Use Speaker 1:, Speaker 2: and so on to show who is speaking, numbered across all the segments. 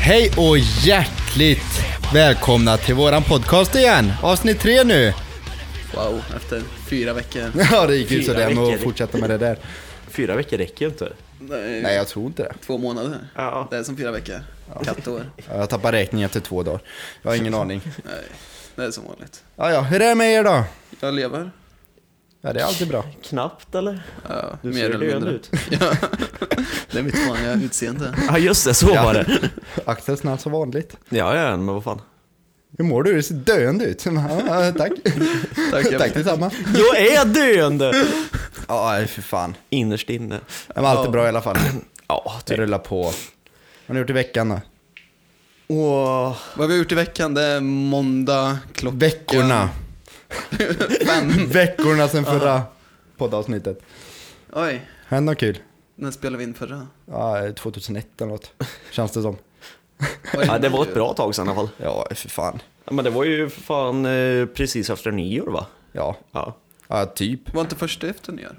Speaker 1: Hej och hjärtligt välkomna till våran podcast igen. Avsnitt tre nu.
Speaker 2: Wow, efter fyra veckor.
Speaker 1: Ja, det gick ju
Speaker 3: Fyra
Speaker 1: sådär med att
Speaker 3: veckor.
Speaker 1: fortsätta med det där.
Speaker 3: Fyra veckor räcker ju inte.
Speaker 2: Nej,
Speaker 1: Nej, jag tror inte det.
Speaker 2: Två månader.
Speaker 3: Ja.
Speaker 2: Det är som fyra veckor. Kattår.
Speaker 1: Jag tappar räkningen efter två dagar. Jag har ingen aning.
Speaker 2: Nej, det är som vanligt.
Speaker 1: Ja, ja. Hur är det med er då?
Speaker 2: Jag lever.
Speaker 1: Ja, det är alltid bra.
Speaker 3: Knappt eller?
Speaker 2: Ja,
Speaker 3: Du ser döende ut.
Speaker 2: Ja. Det är mitt vanliga utseende.
Speaker 3: Ja just det, så var det.
Speaker 1: Axels snabbt som vanligt.
Speaker 3: Ja, ja, men vad fan.
Speaker 1: Hur mår du? Du ser döende ut. Ja, tack.
Speaker 2: Tack, jag
Speaker 1: tack
Speaker 2: vet.
Speaker 1: detsamma.
Speaker 3: Jag är döende!
Speaker 1: Ja, nej, för fan.
Speaker 3: Innerst inne.
Speaker 1: Men allt är bra i alla fall.
Speaker 3: Ja,
Speaker 1: Det
Speaker 3: typ.
Speaker 1: rullar på. Vad har ni gjort i veckan då?
Speaker 3: Åh,
Speaker 2: Vad vi har gjort i veckan, det är måndag klockan...
Speaker 1: Veckorna.
Speaker 2: Fem.
Speaker 1: Veckorna sen förra poddavsnittet.
Speaker 2: Oj,
Speaker 1: Hände något kul?
Speaker 2: när spelade vi in förra?
Speaker 1: Ja, 2001 eller något. Känns det som.
Speaker 2: Oj,
Speaker 3: Ja, det var ett bra tag sedan i alla fall.
Speaker 1: Ja, för fan.
Speaker 3: Ja, men det var ju för fan eh, precis efter nyår va?
Speaker 1: Ja,
Speaker 3: Ja.
Speaker 1: ja typ.
Speaker 2: Var inte första efter nyår?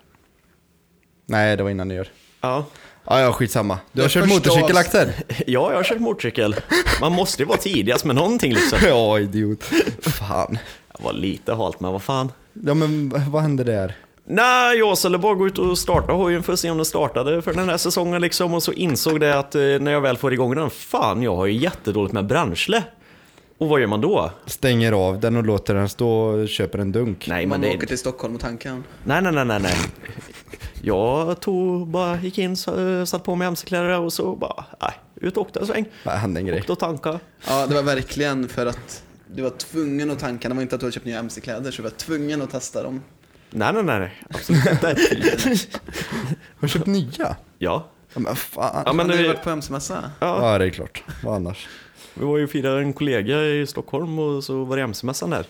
Speaker 1: Nej, det var innan nyår.
Speaker 3: Ja,
Speaker 1: Ja, ja, skitsamma. Du har
Speaker 2: Det
Speaker 1: kört
Speaker 2: första
Speaker 1: motorcykel
Speaker 2: avs-
Speaker 1: Axel?
Speaker 3: ja jag har kört motorcykel. Man måste ju vara tidigast med någonting liksom.
Speaker 1: Ja, idiot. Fan.
Speaker 3: Jag var lite halt men vad fan.
Speaker 1: Ja, men v- vad hände där?
Speaker 3: Nej, jag skulle bara gå ut och starta hojen för att se om den startade för den här säsongen liksom. Och så insåg det att eh, när jag väl får igång den, fan jag har ju jättedåligt med bränsle. Och vad gör man då?
Speaker 1: Stänger av den och låter den stå och köper en dunk.
Speaker 3: Nej, men
Speaker 2: Man
Speaker 3: det...
Speaker 2: åker till Stockholm och tankar.
Speaker 3: Nej, nej, nej, nej, nej. Jag tog, bara gick in, så- eh, satt på mig mc-kläder och så bara, nej, ut och åkte en sväng.
Speaker 1: Det hände en grej.
Speaker 3: Åkte och tanka.
Speaker 2: Ja, det var verkligen för att du var tvungen att tanka. Det var inte att du hade köpt nya mc-kläder, så du var tvungen att testa dem.
Speaker 3: Nej, nej, nej, nej. absolut inte.
Speaker 1: Har du köpt nya?
Speaker 3: Ja.
Speaker 1: Ja, men fan.
Speaker 3: Ja, men
Speaker 2: har ju
Speaker 3: det,
Speaker 2: varit på mc-mässa.
Speaker 3: ja,
Speaker 1: Ja, det är klart. Vad annars?
Speaker 3: vi var ju och firade en kollega i Stockholm och så var det mc-mässan där.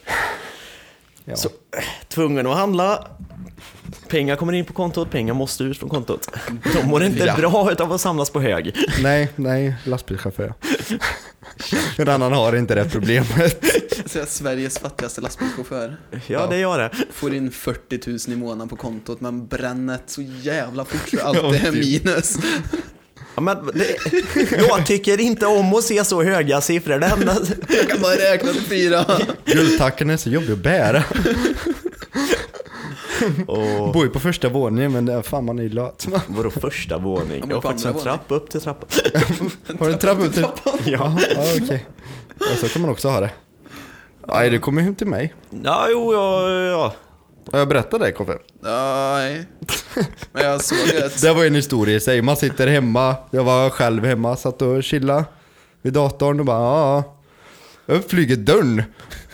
Speaker 1: Ja.
Speaker 3: Så, eh, tvungen att handla. Pengar kommer in på kontot, pengar måste ut från kontot. De mår inte
Speaker 1: Ja.
Speaker 3: bra utav att samlas på hög.
Speaker 1: Nej, nej, lastbilschaufför ja. En annan har inte det problemet.
Speaker 2: Så jag är Sveriges fattigaste lastbilschaufför.
Speaker 3: Ja, det gör det.
Speaker 2: Får in 40 000 i månaden på kontot men bränner ett så jävla fort så allt det
Speaker 1: Ja,
Speaker 2: är
Speaker 1: typ.
Speaker 2: minus.
Speaker 3: Ja, men det. Jag tycker inte om att se så höga siffror. Det enda,
Speaker 2: Jag kan bara räkna till fyra.
Speaker 1: Guldtackan är så jobbig att bära.
Speaker 3: och,
Speaker 1: Bor ju på första våningen men det- fan man är ju lat.
Speaker 3: vadå första våning?
Speaker 2: men
Speaker 3: Jag har
Speaker 2: på
Speaker 3: faktiskt en
Speaker 2: andra våning.
Speaker 3: trappa upp till trappan.
Speaker 1: Har du en trappa upp till? Ja, ja okej. Ja, så kan man också ha det. Nej, du kommer hem till mig.
Speaker 3: Ja, jo, ja, ja.
Speaker 1: Har jag berättat det Koffe?
Speaker 2: Nej. Men jag såg ju ett...
Speaker 1: Det var en historia i sig. Man sitter hemma, jag var själv hemma, satt och chilla vid datorn och bara ja. ja. Upp flyger dörren.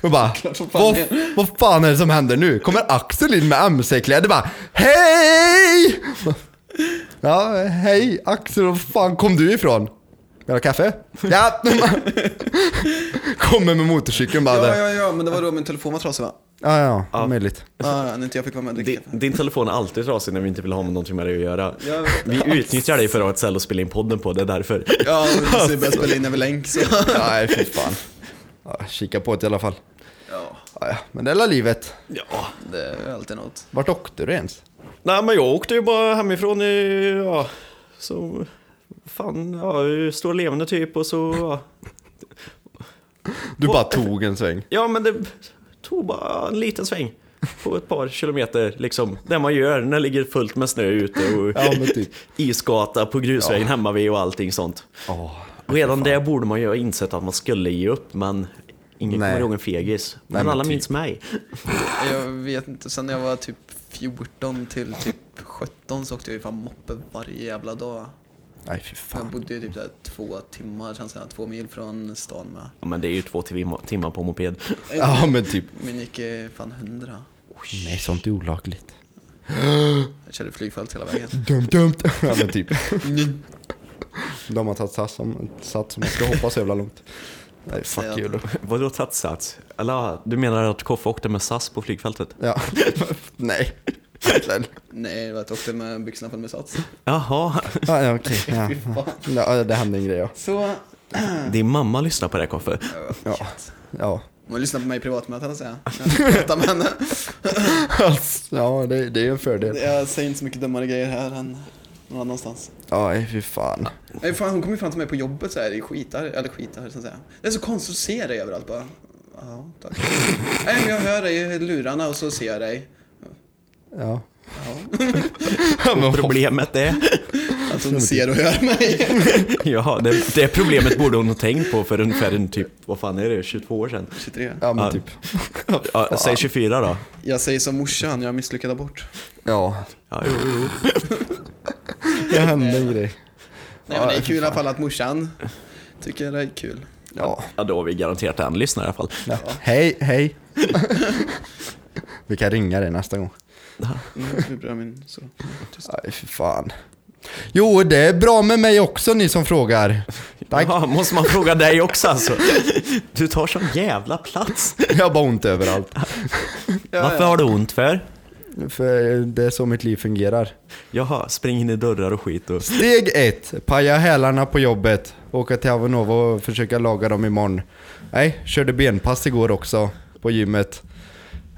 Speaker 1: Och bara,
Speaker 2: som fan
Speaker 1: vad,
Speaker 2: det
Speaker 1: vad fan är det som händer nu? Kommer Axel in med mc-kläder bara, hej! Ja, hej Axel, var fan kom du ifrån? Vill du ha kaffe? Ja! Kommer med motorcykeln bara
Speaker 2: Ja,
Speaker 1: där.
Speaker 2: ja, ja, men det var då min telefon var trasig va? Ah,
Speaker 1: Ja, ja, möjligt.
Speaker 2: Ja, ja, när inte jag fick vara med och
Speaker 3: Din,
Speaker 2: dricka.
Speaker 3: din telefon är alltid trasig när vi inte vill ha med någonting med dig att göra.
Speaker 2: Jag vet det.
Speaker 3: Vi utnyttjar dig för att ha ett ställe att spela in podden på, det är därför.
Speaker 2: Ja, och så började spela in över länk så...
Speaker 1: Nej, fy fan. Ja, kika på det i alla fall.
Speaker 2: Ja,
Speaker 1: Ja, ja, men det är livet.
Speaker 3: Ja.
Speaker 2: det är ju alltid något.
Speaker 1: Vart åkte du ens?
Speaker 3: Nej men jag åkte ju bara hemifrån i, ja, så, fan, ja, i Stora Levande typ och så, ja.
Speaker 1: Du bara tog en sväng.
Speaker 3: ja men det tog bara en liten sväng på ett par kilometer liksom. Det man gör när det ligger fullt med snö ute och
Speaker 1: Ja, men typ.
Speaker 3: isgata på grusvägen hemma vid och allting sånt.
Speaker 1: Oh.
Speaker 3: Redan där borde man ju ha insett att man skulle ge upp men ingen
Speaker 1: Nej.
Speaker 3: kommer ihåg en fegis. Men,
Speaker 1: men
Speaker 3: alla
Speaker 1: typ.
Speaker 3: minns mig.
Speaker 2: Jag vet inte, sen när jag var typ 14 till typ 17 så åkte jag ju fan moppe varje jävla dag.
Speaker 1: Nej, fy
Speaker 2: Jag
Speaker 1: fan.
Speaker 2: bodde ju typ där två timmar, känns det, två mil från stan med.
Speaker 3: Ja, men det är ju två tim- timmar på moped.
Speaker 1: Ja, men typ.
Speaker 2: Min gick eh, fan hundra.
Speaker 1: Nej, sånt är olagligt.
Speaker 2: Jag körde flygfält hela vägen.
Speaker 1: Dumt, dumt. Ja, men typ. De har tagit sats som, sats som man ska hoppa så jävla långt. Nej, fuck you. då.
Speaker 3: Vadå tagit sats? Eller du menar att Koffe åkte med SAS på flygfältet?
Speaker 1: Ja. Nej.
Speaker 2: Nej, det var att jag åkte med byxorna fulla med sats.
Speaker 3: Jaha,
Speaker 1: Ja, ja, okej. Ja. Ja, det hände en grej, ja.
Speaker 2: Så...
Speaker 3: din mamma lyssnar på det här, Koffe.
Speaker 1: Ja. ja.
Speaker 2: Hon lyssnar på mig i privatmöten, säger jag. Jag pratar med henne.
Speaker 1: Ja, det, det är ju en fördel.
Speaker 2: Jag säger inte så mycket dummare grejer här än någon annanstans.
Speaker 1: Aj, fy fan.
Speaker 2: Nej, fan, hon kom ju fram till mig på jobbet så här i skitar, eller skitar så att säga. Det är så konstigt att se dig överallt bara. Ja, tack. Nej, men jag hör dig i lurarna och så ser jag dig.
Speaker 1: Ja.
Speaker 2: Ja,
Speaker 3: Och problemet är...
Speaker 2: att hon ser och hör mig.
Speaker 3: Ja, det, det problemet borde hon ha tänkt på för ungefär en typ, vad fan är det, 22 år sedan?
Speaker 2: 23.
Speaker 1: Ja, men
Speaker 3: Ja.
Speaker 1: typ.
Speaker 3: Ja, säg 24 då.
Speaker 2: Jag säger som morsan, jag misslyckade abort.
Speaker 1: Ja.
Speaker 3: Ja, jo, jo.
Speaker 1: Det hände en grej.
Speaker 2: Nej, men det är kul i alla fall att morsan tycker det är kul.
Speaker 1: Ja.
Speaker 3: ja, då har vi garanterat en lyssnare i alla fall.
Speaker 1: ja. Hej, hej. Vi kan ringa dig nästa gång.
Speaker 2: Mm, det blir min så. Tyst.
Speaker 1: Aj, fy fan. Jo, det är bra med mig också ni som frågar. Tack.
Speaker 3: Ja, måste man fråga dig också alltså? Du tar sån jävla plats.
Speaker 1: Jag har bara ont överallt.
Speaker 2: Ja,
Speaker 3: Varför
Speaker 2: ja.
Speaker 3: har du ont för?
Speaker 1: För det är så mitt liv fungerar.
Speaker 3: Jaha, spring in i dörrar och skit och...
Speaker 1: Steg ett, Paja hälarna på jobbet. Åka till Avonova och försöka laga dem imorgon. Nej, körde benpass igår också på gymmet.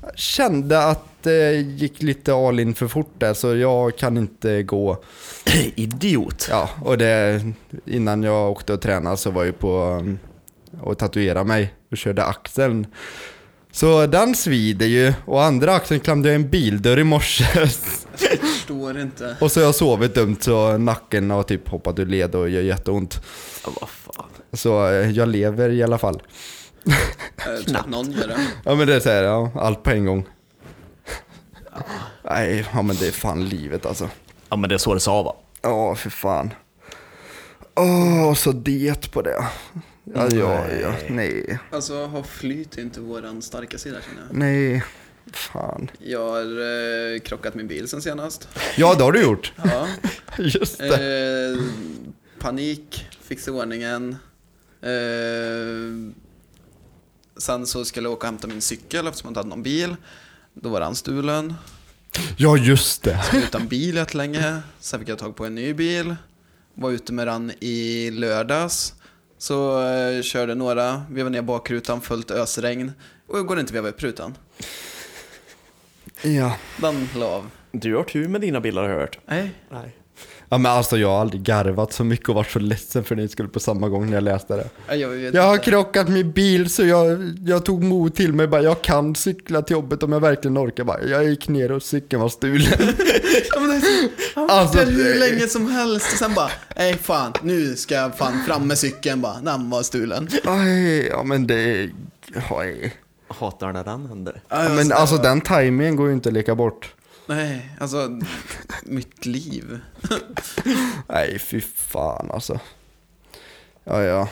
Speaker 1: Jag Kände att det gick lite all in för fort där så jag kan inte gå.
Speaker 3: Idiot.
Speaker 1: Ja, och det, innan jag åkte och tränade så var jag ju på um, och tatuera mig och körde axeln. Så den svider ju och andra axeln klämde jag i en bildörr i morse.
Speaker 2: Förstår inte. eh,
Speaker 1: och så har jag sovit dumt så nacken har typ hoppat ur led och gör jätteont.
Speaker 3: Ja, vad fan.
Speaker 1: Så eh, jag lever i alla fall.
Speaker 2: Jag tror typ att någon gör det.
Speaker 1: Ja men det är så här, ja, allt på en gång. Nej, ja men det är fan livet alltså.
Speaker 3: Ja, men det är så det sa va?
Speaker 1: Ja, för fan. Åh, så diet på det. Ja, ja, ja, nej,
Speaker 2: Alltså, har flyt är inte våran starka sida känner jag.
Speaker 1: nej, fan.
Speaker 2: Jag har eh, krockat min bil sen senast.
Speaker 1: Ja, det har du gjort.
Speaker 2: Ja.
Speaker 1: Just det.
Speaker 2: Eh, panik, fixa ordningen. Eh, sen så skulle jag åka och hämta min cykel eftersom jag inte hade någon bil. Då var den stulen.
Speaker 1: Ja, just det.
Speaker 2: Jag var utan bil jättelänge. Sen fick jag tag på en ny bil. Var ute med den i lördags. Så eh, körde några, vevade ner bakrutan, fullt ösregn. Och jag går inte att veva upp rutan.
Speaker 1: Ja.
Speaker 2: Den la av.
Speaker 3: Du har tur med dina bilar har jag hört.
Speaker 2: Nej.
Speaker 3: Nej.
Speaker 1: ja, men alltså jag har aldrig garvat så mycket och varit så ledsen för ni skulle på samma gång när jag läste det.
Speaker 2: Jag, vet
Speaker 1: Jag har
Speaker 2: inte.
Speaker 1: krockat min bil så jag, jag tog mod till mig bara, jag kan cykla till jobbet om jag verkligen orkar. Bara, jag gick ner och cykeln var stulen.
Speaker 2: Ja, men det är så- Han
Speaker 1: Alltså,
Speaker 2: alltså, hur
Speaker 1: det-
Speaker 2: länge som helst och sen bara, nej fan, nu ska jag fan fram med cykeln bara, den var stulen.
Speaker 1: Aj, ja men det... Aj.
Speaker 3: Hatar när den händer.
Speaker 1: Ja, men alltså den tajmingen går ju inte att leka bort.
Speaker 2: Nej, alltså mitt liv.
Speaker 1: Nej, fy fan alltså. Ja, ja.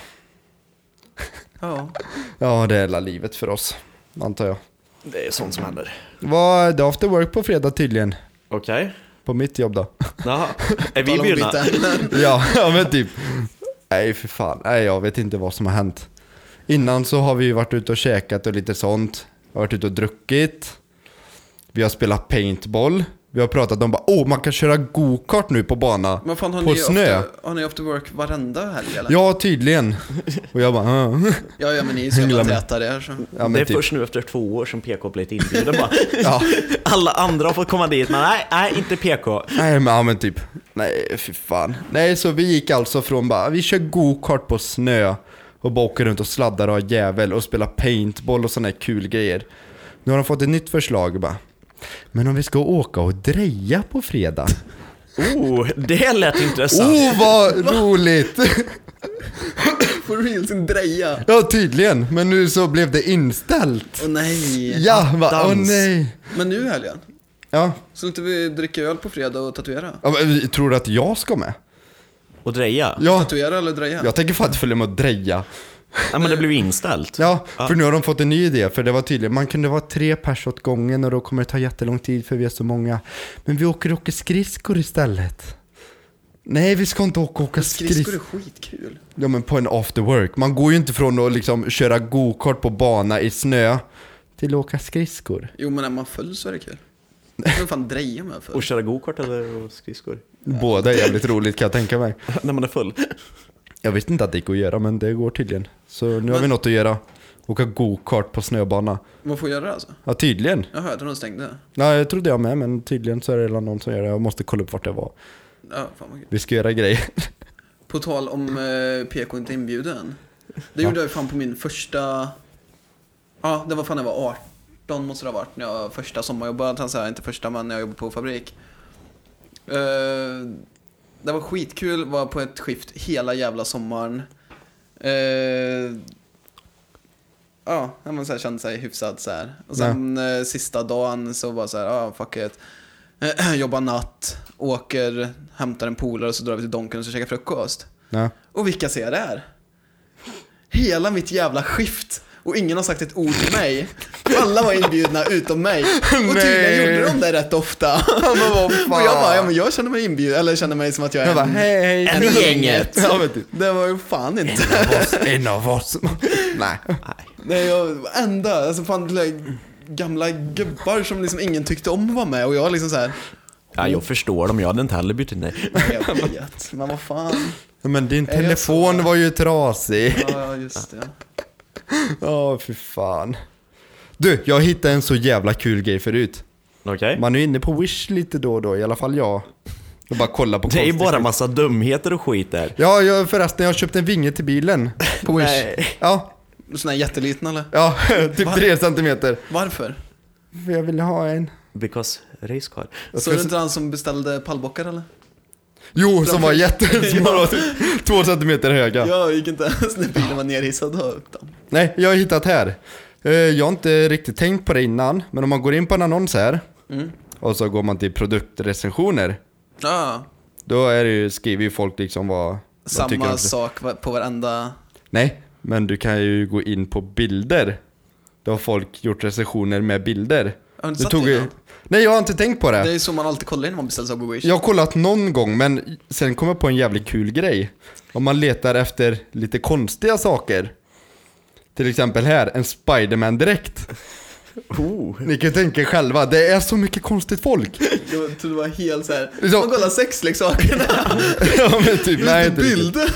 Speaker 2: Ja.
Speaker 1: Ja, det är hela livet för oss, antar jag.
Speaker 3: Det är sånt som händer.
Speaker 1: Vad, det är after work på fredag tydligen.
Speaker 3: Okej.
Speaker 1: På mitt jobb då.
Speaker 3: Jaha. Är vi
Speaker 2: Tala om
Speaker 3: bjudna?
Speaker 2: byta ämnen.
Speaker 1: ja, ja, men typ. Nej, för fan. Nej, jag vet inte vad som har hänt. Innan så har vi ju varit ute och käkat och lite sånt. Jag har varit ute och druckit. Vi har spelat paintball. Vi har pratat om bara, åh, man kan köra go-kart nu på bana.
Speaker 2: Men fan har
Speaker 1: På
Speaker 2: ni,
Speaker 1: snö.
Speaker 2: After, har ni after work varenda helg eller?
Speaker 1: Ja, tydligen. Och jag bara, "Ah."
Speaker 2: ja, ja men ni är så jävla
Speaker 1: Hängla med.
Speaker 2: täta där så.
Speaker 1: ja,
Speaker 3: det är
Speaker 1: men typ.
Speaker 3: först nu efter två år som PK blivit inbjuden bara.
Speaker 1: Ja.
Speaker 3: Alla andra har fått komma dit, men nej, nej, inte PK.
Speaker 1: Nej, men, ja, men typ. Nej, fy fan. Nej, så vi gick alltså från bara, vi kör go-kart på snö och bara åker runt och sladdar och har jävel och spelar paintball och sådana här kul grejer. Nu har de fått ett nytt förslag bara. Men om vi ska åka och dreja på fredag?
Speaker 3: Oh, det lät intressant.
Speaker 1: Oh, vad roligt!
Speaker 2: Får du in sin dreja?
Speaker 1: Ja, tydligen. Men nu så blev det inställt.
Speaker 2: Åh nej.
Speaker 1: Ja, va? Åh
Speaker 3: Attans.
Speaker 1: nej.
Speaker 2: Men nu i helgen?
Speaker 1: Ja.
Speaker 2: Så inte vi dricker öl på fredag och tatuera?
Speaker 1: ja men, vi- tror du att jag ska med? Oh.
Speaker 3: Och dreja?
Speaker 1: Ja,
Speaker 2: Tatuera eller dreja?
Speaker 1: jag tänker fan inte följa med och dreja.
Speaker 3: Nej, men det blev inställt.
Speaker 1: Ja, för nu har de fått en ny idé, för det var tydligen, man kunde vara tre pers åt gången och då kommer det ta jättelång tid för vi är så många. Men vi åker och åker skridskor istället. Nej, vi ska inte åka och åka
Speaker 2: Skridskor är
Speaker 1: skridskor.
Speaker 2: skitkul.
Speaker 1: Ja, men på en after work. Man går ju inte från att liksom köra go-kart på bana i snö till att åka skridskor.
Speaker 2: Jo men när man föll så är det kul. Vad fan dreja med för?
Speaker 3: Och köra gokart eller skridskor?
Speaker 1: Båda är jävligt roligt kan jag tänka mig.
Speaker 3: När man är full?
Speaker 1: Jag visste inte att det gick att göra, men det går tydligen. Så nu har vi något att göra. Åka go-kart på snöbana.
Speaker 2: Man får göra det alltså?
Speaker 1: Ja, tydligen.
Speaker 2: Jaha, jag trodde de stängde.
Speaker 1: Nej, jag trodde jag med, men tydligen så är det redan någon som gör det. Jag måste kolla upp vart det var.
Speaker 2: Ja, fan vad kul.
Speaker 1: Vi ska göra grejer.
Speaker 2: På tal om eh, PK inte inbjuden. Det gjorde jag fan på min första... Ja, det var fan när jag var 18 måste det ha varit. När jag första sommarjobbade, tänkte jag säga. Inte första men när jag jobbade på fabrik. Eh, det var skitkul, var på ett skift hela jävla sommaren. Eh, Ja, ja, man så här kände sig hyfsad så här. Och sen eh, sista dagen så bara så här, ja fuck it. Jobbar natt, åker, hämtar en polare och så drar vi till Donken och så käkar frukost.
Speaker 1: Ja.
Speaker 2: Och vilka ser det här? Hela mitt jävla skift. Och ingen har sagt ett ord till mig. Alla var inbjudna utom mig. Och tydligen
Speaker 1: Nej.
Speaker 2: gjorde de det rätt ofta. och jag bara, ja men jag kände mig inbjuden, eller kände mig som att jag
Speaker 1: Jag
Speaker 2: är
Speaker 1: bara,
Speaker 2: en,
Speaker 1: hej hej.
Speaker 3: En i gänget.
Speaker 1: Ja, men typ.
Speaker 2: Det var ju fan inte.
Speaker 1: En av oss. En av oss. Nej.
Speaker 2: Nej, jag, enda, alltså fan det där gamla gubbar som liksom ingen tyckte om var med och jag liksom såhär,
Speaker 3: Ja, jag förstår dem. Jag hade inte heller bytt in dig.
Speaker 2: jag vet, men vad fan.
Speaker 1: Men din
Speaker 2: Är det
Speaker 1: telefon
Speaker 2: så?
Speaker 1: var ju trasig.
Speaker 2: Ja, just det.
Speaker 1: Ja, fy fan. Du, jag hittade en så jävla kul grej förut.
Speaker 3: Okej?
Speaker 1: Man är ju inne på Wish lite då och då, i alla fall jag. Jag bara kollar på
Speaker 3: Det är ju
Speaker 1: konstiga
Speaker 3: bara
Speaker 1: skit.
Speaker 3: massa dumheter och skit där.
Speaker 1: Ja, jag, förresten, jag köpte en vinge till bilen på Wish.
Speaker 3: Nej.
Speaker 1: Ja,
Speaker 2: Sån här jätteliten eller?
Speaker 1: ja, typ
Speaker 2: Va?
Speaker 1: tre centimeter.
Speaker 2: Varför?
Speaker 1: För jag ville ha en.
Speaker 3: Because race car.
Speaker 1: Jag
Speaker 2: Såg
Speaker 1: ska
Speaker 2: du inte han som beställde pallbockar eller?
Speaker 1: Jo, som var jättesmå, typ två centimeter höga.
Speaker 2: Jag gick inte ens när bilen var nerhissad och upp dem.
Speaker 1: Nej, jag har hittat här. Eh, Jag har inte riktigt tänkt på det innan, men om man går in på en annons här
Speaker 2: Mm.
Speaker 1: och så går man till produktrecensioner.
Speaker 3: Ah.
Speaker 2: Ja,
Speaker 1: Då är det ju, skriver ju folk liksom vad vad tycker de
Speaker 2: samma
Speaker 1: om-
Speaker 2: sak va- på varenda...
Speaker 1: Nej, men du kan ju gå in på bilder. Då har folk gjort recensioner med bilder.
Speaker 2: Har du inte
Speaker 1: Du
Speaker 2: satt
Speaker 1: tog
Speaker 2: det
Speaker 1: ju...
Speaker 2: innan?
Speaker 1: Nej, jag har inte tänkt på det.
Speaker 2: Det är ju så man alltid kollar innan man beställer saker på Wish.
Speaker 1: Jag har kollat någon gång, men sen kom jag på en jävligt kul grej. Om man letar efter lite konstiga saker. Till exempel här, en Spiderman-dräkt.
Speaker 3: Oh.
Speaker 1: Ni kan ju tänka er själva, det är så mycket konstigt folk.
Speaker 2: Jag trodde det var helt såhär,
Speaker 1: Så-
Speaker 2: man kollar sexleksakerna,
Speaker 1: ja, men typ, nej,
Speaker 2: inte
Speaker 1: inte riktigt.
Speaker 2: bilder.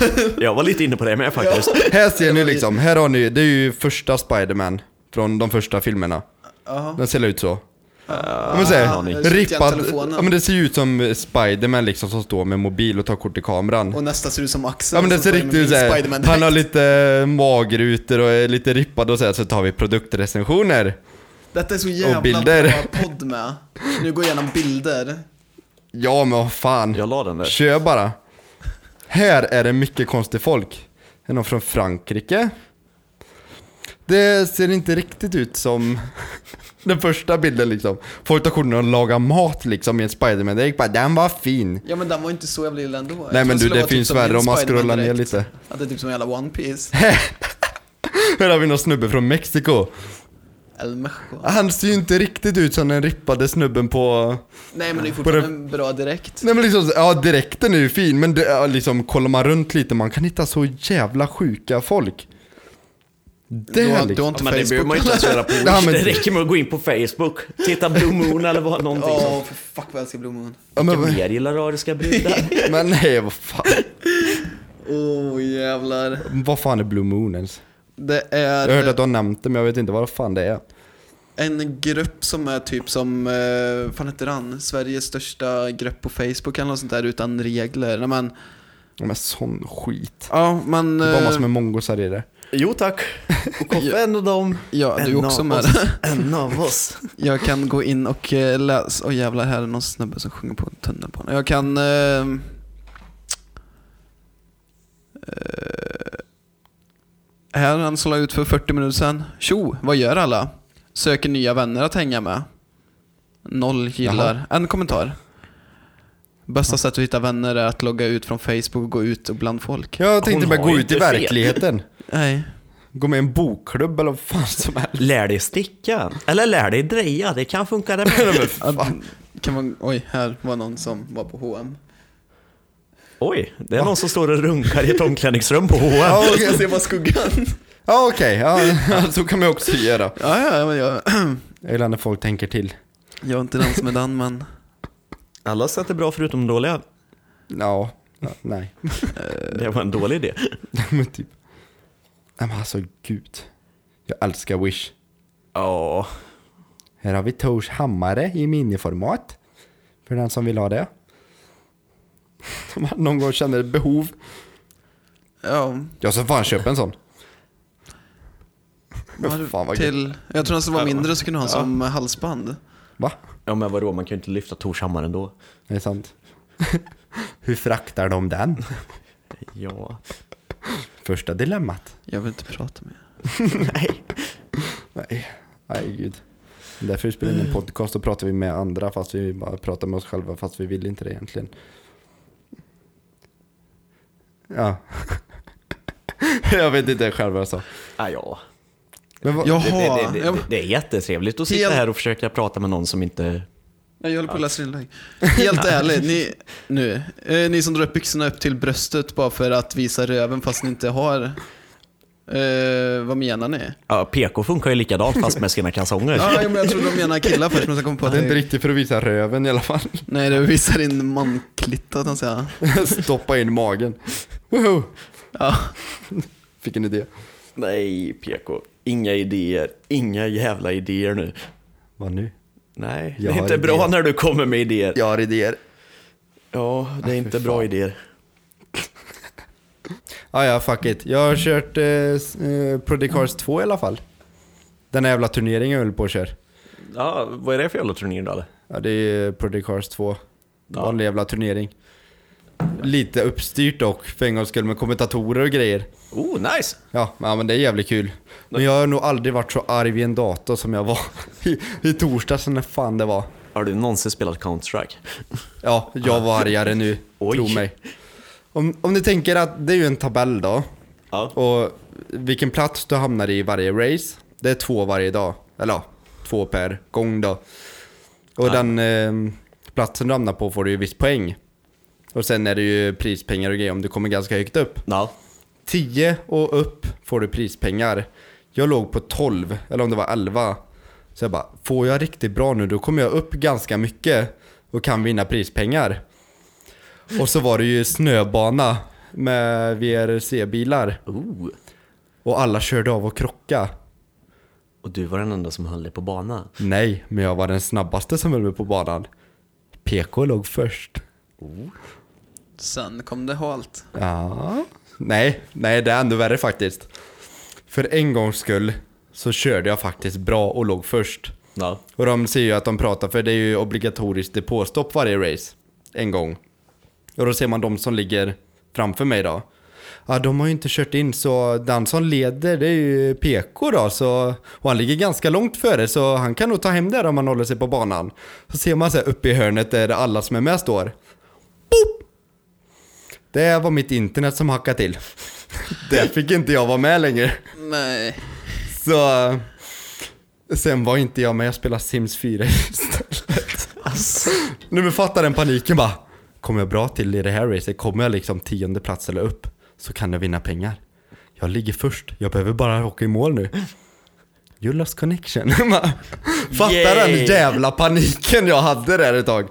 Speaker 3: Jag var lite inne på det med faktiskt.
Speaker 1: Här ser ni liksom, här har ni, det är ju första Spiderman från de första filmerna.
Speaker 2: Jaha.
Speaker 1: Den ser ut så. Ja,
Speaker 3: Ja.
Speaker 1: men så
Speaker 2: Ah,
Speaker 1: här,
Speaker 3: aning.
Speaker 2: jag kände igen
Speaker 1: rippad,
Speaker 2: telefonen.
Speaker 1: ja, men det ser ju ut som Spiderman liksom som står med mobil och tar kort i kameran.
Speaker 2: Och nästa ser ut som Axel.
Speaker 1: Ja men det ser
Speaker 2: som står
Speaker 1: riktigt ut
Speaker 2: med min
Speaker 1: såhär,
Speaker 2: Spiderman-dräkt.
Speaker 1: han har lite magrutor och är lite rippad och såhär, så tar vi produktrecensioner.
Speaker 2: Detta är så jävla
Speaker 1: och bilder.
Speaker 2: bra podd med. Nu går jag igenom bilder.
Speaker 1: Ja men vad fan.
Speaker 3: Jag la den där.
Speaker 1: Kör bara. Här är det mycket konstigt folk. Här Är någon från Frankrike? Det ser inte riktigt ut som den första bilden liksom. Folk tar korten och lagar mat liksom i en Spiderman. Det gick bara, den var fin.
Speaker 2: Ja men den var inte så jävla illa ändå. Jag
Speaker 1: Nej
Speaker 2: tror
Speaker 1: men du,
Speaker 2: skulle
Speaker 1: det
Speaker 2: vara typ
Speaker 1: finns
Speaker 2: som
Speaker 1: värre
Speaker 2: min
Speaker 1: om man scrollar ner
Speaker 2: Spiderman-dräkt.
Speaker 1: lite.
Speaker 2: Att det är typ som en jävla One Piece.
Speaker 1: Här har vi någon snubbe från Mexiko.
Speaker 2: El Mexico.
Speaker 1: Han ser ju inte riktigt ut som den rippade snubben på...
Speaker 2: Nej men det är
Speaker 1: På det-
Speaker 2: fortfarande en bra direkt.
Speaker 1: Nej men liksom, ja direkten är ju fin men det, ja, liksom kollar man runt lite man kan hitta så jävla sjuka folk. Det
Speaker 2: Du har,
Speaker 1: liksom.
Speaker 2: du har
Speaker 3: Ja,
Speaker 2: inte
Speaker 3: men det behöver
Speaker 2: Facebook
Speaker 3: man ju inte ens göra på
Speaker 1: Ja,
Speaker 3: Wish.
Speaker 1: men- typ.
Speaker 3: Det räcker med att gå in på Facebook, titta Blue Moon eller vad, någonting.
Speaker 2: Åh
Speaker 3: sånt.
Speaker 2: för fuck vad jag älskar Blue Moon.
Speaker 1: Ja, men,
Speaker 3: Vilka
Speaker 1: vad-
Speaker 3: mer gillar ariska brudar?
Speaker 1: men nej, vad fan.
Speaker 2: Åh jävlar.
Speaker 1: Vad fan är Blue Moon ens?
Speaker 2: Det
Speaker 1: Jag hörde att
Speaker 2: är
Speaker 1: du har nämnt det, men jag vet inte vad fan det är.
Speaker 2: en grupp som är typ som, eh, fan heter han? Sveriges största grupp på Facebook eller något sånt där utan regler. Nej, men,
Speaker 1: Ja, Men sån skit.
Speaker 2: ja men...
Speaker 1: Det är bara massor
Speaker 2: eh,
Speaker 1: med mongosar i det.
Speaker 3: Jo tack. Och koffe en av dem.
Speaker 2: eh, Ja, du
Speaker 3: En
Speaker 2: är också
Speaker 3: av
Speaker 2: med.
Speaker 3: oss. En av oss.
Speaker 2: Jag kan gå in och eh, läsa. Åh jävlar, här är någon snubbe som sjunger på en tunnelbana. Jag kan... Eh, eh, här han som la ut för 40 minuter sedan. Tjo, vad gör alla? Söker nya vänner att hänga med. Noll gillar. En kommentar. Bästa sättet att hitta vänner är att logga ut från Facebook och gå ut och bland folk.
Speaker 1: Jag tänkte
Speaker 3: Hon
Speaker 1: bara
Speaker 3: har
Speaker 1: gå
Speaker 3: ju
Speaker 1: ut i
Speaker 3: inte fel.
Speaker 1: verkligheten.
Speaker 2: Nej.
Speaker 1: Gå med i en bokklubb eller vad fan som helst.
Speaker 3: Lär dig sticka. Eller lär dig dreja, det kan funka det med.
Speaker 2: Att, kan man, oj, här var någon som var på H&M
Speaker 3: Oj, det är någon som står och runkar i ett omklädningsrum på H&M.
Speaker 1: Ja,
Speaker 2: Jag
Speaker 1: okej.
Speaker 2: ska se vad skuggan.
Speaker 1: Ja, okej. Ja, så kan man ju också göra.
Speaker 2: Ja, ja, ja, men jag,
Speaker 1: Jag gillar när folk tänker till.
Speaker 2: jag är inte den som är den, men
Speaker 3: Alla sätt är bra förutom dåliga.
Speaker 1: Ja, ja nej.
Speaker 3: Det var en dålig idé.
Speaker 1: Men typ. Nej men alltså gud. Jag älskar Wish.
Speaker 3: Ja,
Speaker 1: Här har vi Tors hammare i miniformat. För den som vill ha det. Om man någon gång känner ett behov.
Speaker 2: Ja,
Speaker 1: Jag ska fan köpa en sån.
Speaker 2: har-
Speaker 1: Fan, vad
Speaker 2: till, jag tror den som var
Speaker 3: Själva.
Speaker 2: mindre så kunde ha en som halsband.
Speaker 1: Va?
Speaker 3: Ja men vadå, man kan ju inte lyfta Tors hammare ändå.
Speaker 1: Det är sant. Hur fraktar de den?
Speaker 3: Ja.
Speaker 1: Första dilemmat.
Speaker 2: Jag vill inte prata med er.
Speaker 3: Nej.
Speaker 1: Nej, nej gud. Därför vi spelar in en podcast och pratar vi med andra fast vi bara pratar med oss själva fast vi vill inte det egentligen. Ja. Jag vet inte själv vad jag sa.
Speaker 3: Ah, ja.
Speaker 1: Men vad,
Speaker 2: Jaha,
Speaker 3: Det, det, det,
Speaker 2: jag,
Speaker 3: det, det är jättetrevligt att sitta
Speaker 2: Helt-
Speaker 3: här och försöka prata med någon som inte...
Speaker 2: nej, jag håller på att läsa inlägg. Helt ärligt, ni, nu, eh, ni som drar upp byxorna upp till bröstet bara för att visa röven fast ni inte har. Eh, vad menar ni?
Speaker 3: Ja, PK funkar ju likadant fast med sina kalsonger.
Speaker 2: Ja, men jag trodde de menade killar först men sen kom på att
Speaker 1: det är inte
Speaker 2: det,
Speaker 1: riktigt för att visa röven i alla fall.
Speaker 2: nej, det visar in manklittan tänkte jag säga.
Speaker 1: Stoppa in magen. Woho!
Speaker 2: Ja.
Speaker 1: Fick en idé.
Speaker 3: Nej, PK. Inga idéer. Inga jävla idéer nu.
Speaker 1: Vad nu?
Speaker 3: Nej,
Speaker 1: Jag
Speaker 3: det
Speaker 1: har
Speaker 3: är inte bra
Speaker 1: idéer.
Speaker 3: när du kommer med idéer. Ja,
Speaker 1: Jag har idéer.
Speaker 3: det är inte bra idéer.
Speaker 1: Ah, ja, fuck it. Jag har kört eh, s- eh, Prodigy Cars 2 i alla fall. Den här jävla turneringen jag höll på att köra.
Speaker 3: Ja, vad är det för jävla turnéer då eller?
Speaker 1: Ja, det är Prodigy Cars 2.
Speaker 3: Ja.
Speaker 1: Vanlig jävla turnering. Lite uppstyrt dock, för en gångs skull, med kommentatorer och grejer.
Speaker 3: Oh, nice!
Speaker 1: Ja, men- ja, men det är jävligt kul. Men jag har nog aldrig varit så arg vid en dator som jag var i, i torsdags, när fan det var.
Speaker 3: Har du någonsin spelat Counter-Strike?
Speaker 1: Ja, jag var argare nu,
Speaker 3: Oj.
Speaker 1: tro mig. Om, om ni tänker att det är ju en tabell då,
Speaker 3: Ja.
Speaker 1: och vilken plats du hamnar i varje race, det är två varje dag. Eller ja, två per gång då. Och den eh, platsen du hamnar på får du ju viss poäng. Och sen är det ju prispengar och grejer om du kommer ganska högt upp.
Speaker 3: Ja.
Speaker 1: 10 och upp får du prispengar. Jag låg på 12, eller om det var 11. Så jag bara, får jag riktigt bra nu då kommer jag upp ganska mycket och kan vinna prispengar. Och så var det ju snöbana med VRC-bilar
Speaker 3: Oh.
Speaker 1: och alla körde av och krocka.
Speaker 3: Och du var den enda som höll dig på banan.
Speaker 1: Nej, men jag var den snabbaste som höll mig på banan. PK låg först.
Speaker 2: Sen kom det halt.
Speaker 1: Ja. Nej, nej det är ändå värre faktiskt. För en gångs skull så körde jag faktiskt bra och låg först.
Speaker 3: Ja.
Speaker 1: Och de ser ju att de pratar, för det är ju obligatoriskt depåstopp varje race. En gång. Och då ser man de som ligger framför mig då. Ja, de har ju inte kört in så den som leder det är ju PK då. Så, och han ligger ganska långt före så han kan nog ta hem det här om han håller sig på banan. Så ser man så här uppe i hörnet där alla som är med står. Boop! Det var mitt internet som hackade till. Där fick inte jag vara med längre.
Speaker 2: Nej.
Speaker 1: Så... eh, Sen var inte jag med, jag spelade Sims 4 istället. Nu men fattar den paniken bara. Kommer jag bra till i det här racet, kommer jag liksom tionde plats eller upp så kan jag vinna pengar. Jag ligger först, jag behöver bara åka i mål nu. You lost connection. Man fattar den
Speaker 3: Yay.
Speaker 1: jävla paniken jag hade där ett tag.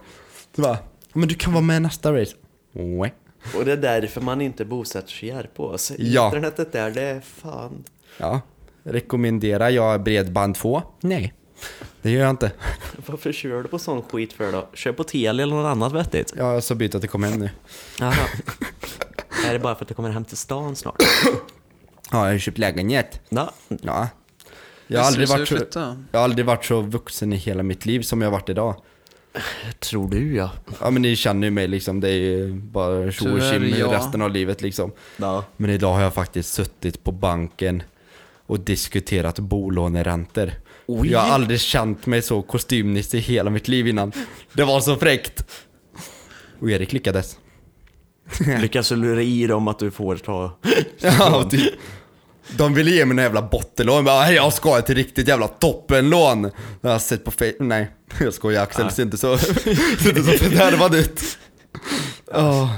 Speaker 1: Så bara, men du kan vara med i nästa race. Nej.
Speaker 3: Och det är därför man inte bosätter sig i Järpås.
Speaker 1: Ja.
Speaker 3: Internetet där, det är fan...
Speaker 1: Ja. Rekommenderar jag bredband 2? Nej. Det gör jag inte.
Speaker 3: Varför kör du på sån skit för då? Kör på Telia eller något annat vettigt.
Speaker 1: Jag ska byta till kom hem nu.
Speaker 3: Jaha. är det bara för att du kommer hem till stan snart?
Speaker 1: Ja, jag har köpt lägenhet.
Speaker 3: Ja.
Speaker 1: Ja. Jag har,
Speaker 2: Visst,
Speaker 1: aldrig
Speaker 2: visst,
Speaker 1: varit
Speaker 2: vi
Speaker 1: så,
Speaker 2: flyttar.
Speaker 1: jag har aldrig varit så vuxen i hela mitt liv som jag har varit idag.
Speaker 3: Tror du ja.
Speaker 1: Ja men ni känner ju mig liksom, det är ju bara tjo och
Speaker 2: Tyvärr,
Speaker 1: tjim
Speaker 2: ja.
Speaker 1: resten av livet liksom.
Speaker 3: Ja.
Speaker 1: Men idag har jag faktiskt suttit på banken och diskuterat bolåneräntor.
Speaker 3: Oj.
Speaker 1: Jag har aldrig känt mig så kostymnisse i hela mitt liv innan. Det var så fräckt! Och Erik lyckades.
Speaker 3: Lyckas du lura i dem att du får ta...
Speaker 1: Ja, typ. De ville ge mig en jävla bottenlån, men jag ska till riktigt jävla toppenlån. Det har jag sett på Facebook, nej jag skojar Axel, det ser inte så, ser inte så fördärvad ut. Oh.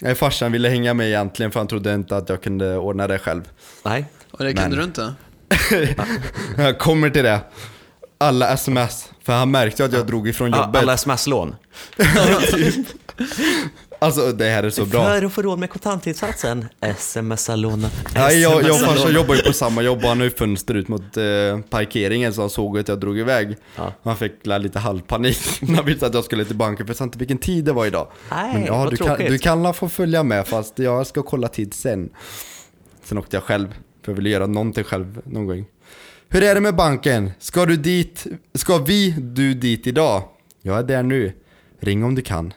Speaker 1: Nej farsan ville hänga med egentligen för han trodde inte att jag kunde ordna det själv.
Speaker 3: Nej.
Speaker 2: Och det kunde
Speaker 1: Men-
Speaker 2: du inte?
Speaker 1: Jag kommer till det. Alla sms, för han märkte att jag drog ifrån
Speaker 3: Ja,
Speaker 1: jobbet.
Speaker 3: alla sms-lån.
Speaker 1: Alltså det här är så bra.
Speaker 3: För att få råd med kontantinsatsen, smsa låna.
Speaker 1: Nej, jag, jag,
Speaker 3: smsa
Speaker 1: farsan
Speaker 3: låna.
Speaker 1: jobbar ju på samma jobb och han har ju fönster ut mot eh, parkeringen så han såg att jag drog iväg.
Speaker 3: Ja.
Speaker 1: Han fick la lite halvpanik när han visste att jag skulle till banken för jag sa inte vilken tid det var idag.
Speaker 3: Nej,
Speaker 1: ja,
Speaker 3: vad
Speaker 1: du, kan,
Speaker 3: tråkigt.
Speaker 1: du kan la få följa med fast jag ska kolla tid sen. Sen åkte jag själv, för jag ville göra någonting själv någon gång. Hur är det med banken? Ska du dit? Ska vi du dit idag? Jag är där nu. Ring om du kan.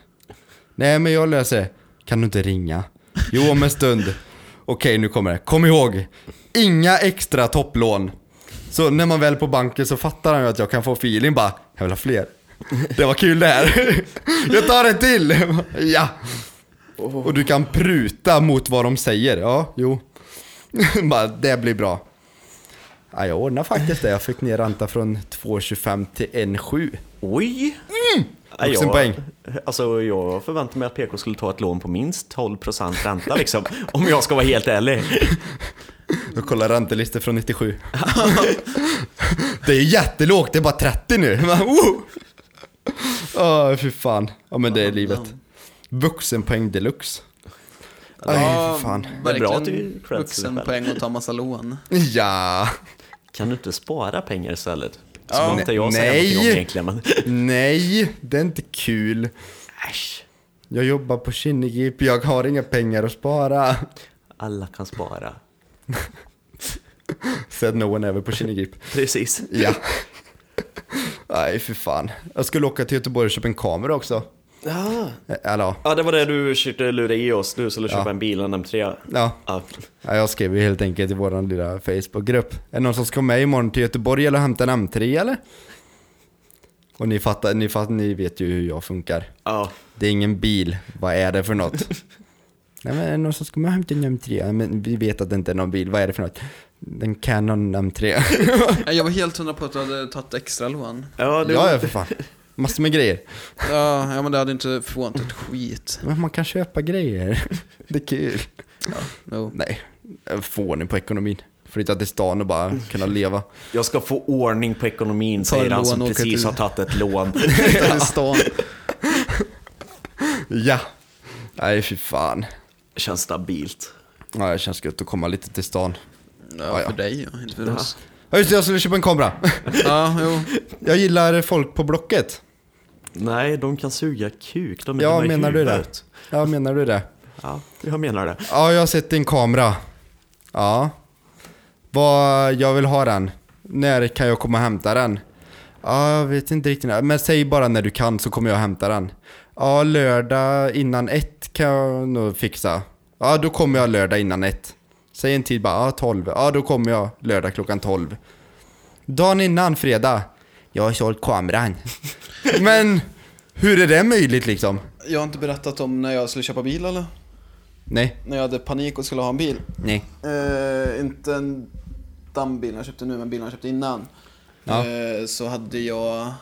Speaker 1: Nej men jag löser det. Kan du inte ringa? Jo om en stund. Okej nu kommer det. Kom ihåg. Inga extra topplån. Så när man väl är på banken så fattar han ju att jag kan få feeling bara. Jag vill ha fler. Det var kul det här. Jag tar en till. Ja. Och du kan pruta mot vad de säger. Ja, jo. Bara, det blir bra. Ja, jag ordnade faktiskt det. Jag fick ner ränta från 2,25 till 1,7.
Speaker 3: Oj! Ja,
Speaker 1: Mm. Vuxen poäng.
Speaker 3: Alltså, jag förväntade mig att PK skulle ta ett lån på minst 12% ränta liksom, om jag ska vara helt ärlig.
Speaker 1: Jag kollar räntelistor från 97. det är jättelågt, det är bara 30 nu. Man, oh! Åh, fy fan. Ja men det är livet. Vuxenpoäng deluxe. Aj, för fan.
Speaker 3: Det är bra att du
Speaker 2: verkligen
Speaker 3: creds dig
Speaker 2: vuxenpoäng och ta massa lån.
Speaker 1: Ja.
Speaker 3: Kan du inte spara pengar istället? Som
Speaker 1: Ja.
Speaker 3: inte jag säger
Speaker 1: Nej.
Speaker 3: någonting om egentligen, men...
Speaker 1: Nej, det är inte kul.
Speaker 3: Äsch.
Speaker 1: Jag jobbar på Kinnegip, jag har inga pengar att spara.
Speaker 3: Alla kan spara.
Speaker 1: Said no one ever på Kinnegip.
Speaker 3: Precis.
Speaker 1: Ja. Nej, för fan. Jag skulle åka till Göteborg och köpa en kamera också. Eh,
Speaker 3: Ja.
Speaker 1: Eller ja.
Speaker 3: ja, det var det du försökte lura i oss. Du skulle köpa en bil, en M3.
Speaker 1: ja.
Speaker 3: Ja.
Speaker 1: Ja, jag skrev ju helt enkelt i vår lilla Facebookgrupp. Är det någon som ska med imorgon till Göteborg eller hämta en M3 eller? Och ni fattar, ni fattar, ni vet ju hur jag funkar.
Speaker 3: ja.
Speaker 1: Det är ingen bil, vad är det för något? Nej men är det någon som ska med och hämta en M3? Ja, Men vi vet att det inte är någon bil, vad är det för något? Den Canon M3.
Speaker 2: Nej, Jag var helt hundra på att du hade tagit extra lån.
Speaker 3: Ja, det
Speaker 1: ja, ja för fan. Massor med grejer.
Speaker 2: Ja, ja men det hade inte förvånat ett skit.
Speaker 1: Men man kan köpa grejer. Det är kul.
Speaker 2: No.
Speaker 1: Nej, få ordning på ekonomin. Flytta till stan och bara kunna leva.
Speaker 3: Jag ska få ordning på ekonomin,
Speaker 2: Ta
Speaker 3: säger han
Speaker 2: lån
Speaker 3: som
Speaker 2: och åka
Speaker 3: precis
Speaker 2: till-
Speaker 3: har tagit ett lån.
Speaker 2: Flytta till stan.
Speaker 1: Ja. Nej fy fan.
Speaker 3: Känns stabilt.
Speaker 1: Ja, det känns gött att komma lite till stan. Ja,
Speaker 2: Ja,
Speaker 1: ja.
Speaker 2: för dig ja, inte för oss.
Speaker 1: Ja just det, jag skulle köpa en kamera.
Speaker 2: Ja, jo.
Speaker 1: Jag gillar folk på Blocket. Nej,
Speaker 3: Nej, de kan suga kuk. De är
Speaker 1: Ja,
Speaker 3: dumma i
Speaker 1: menar du det?
Speaker 3: huvudet.
Speaker 1: Ja, menar du det?
Speaker 3: Ja, jag menar det.
Speaker 1: Ja, jag har sett din kamera. Ja. Vad, jag vill ha den. När kan jag komma och hämta den? Ja, jag vet inte riktigt. när. Men säg bara när du kan så kommer jag och hämtar den. Ja, lördag innan ett kan jag nog fixa. Ja, då kommer jag lördag innan ett. Säg en tid bara, ja 12. Ja, då kommer jag lördag klockan 12. Dagen innan, fredag. Jag har sålt kameran. Men hur är det möjligt liksom?
Speaker 2: Jag har inte berättat om när jag skulle köpa bil eller?
Speaker 1: Nej,
Speaker 2: När jag hade panik och skulle ha en bil.
Speaker 1: nej.
Speaker 2: Eh, inte en, den bilen jag köpte nu, men bilen jag köpte innan.
Speaker 1: Ja.
Speaker 2: Eh, så hade jag...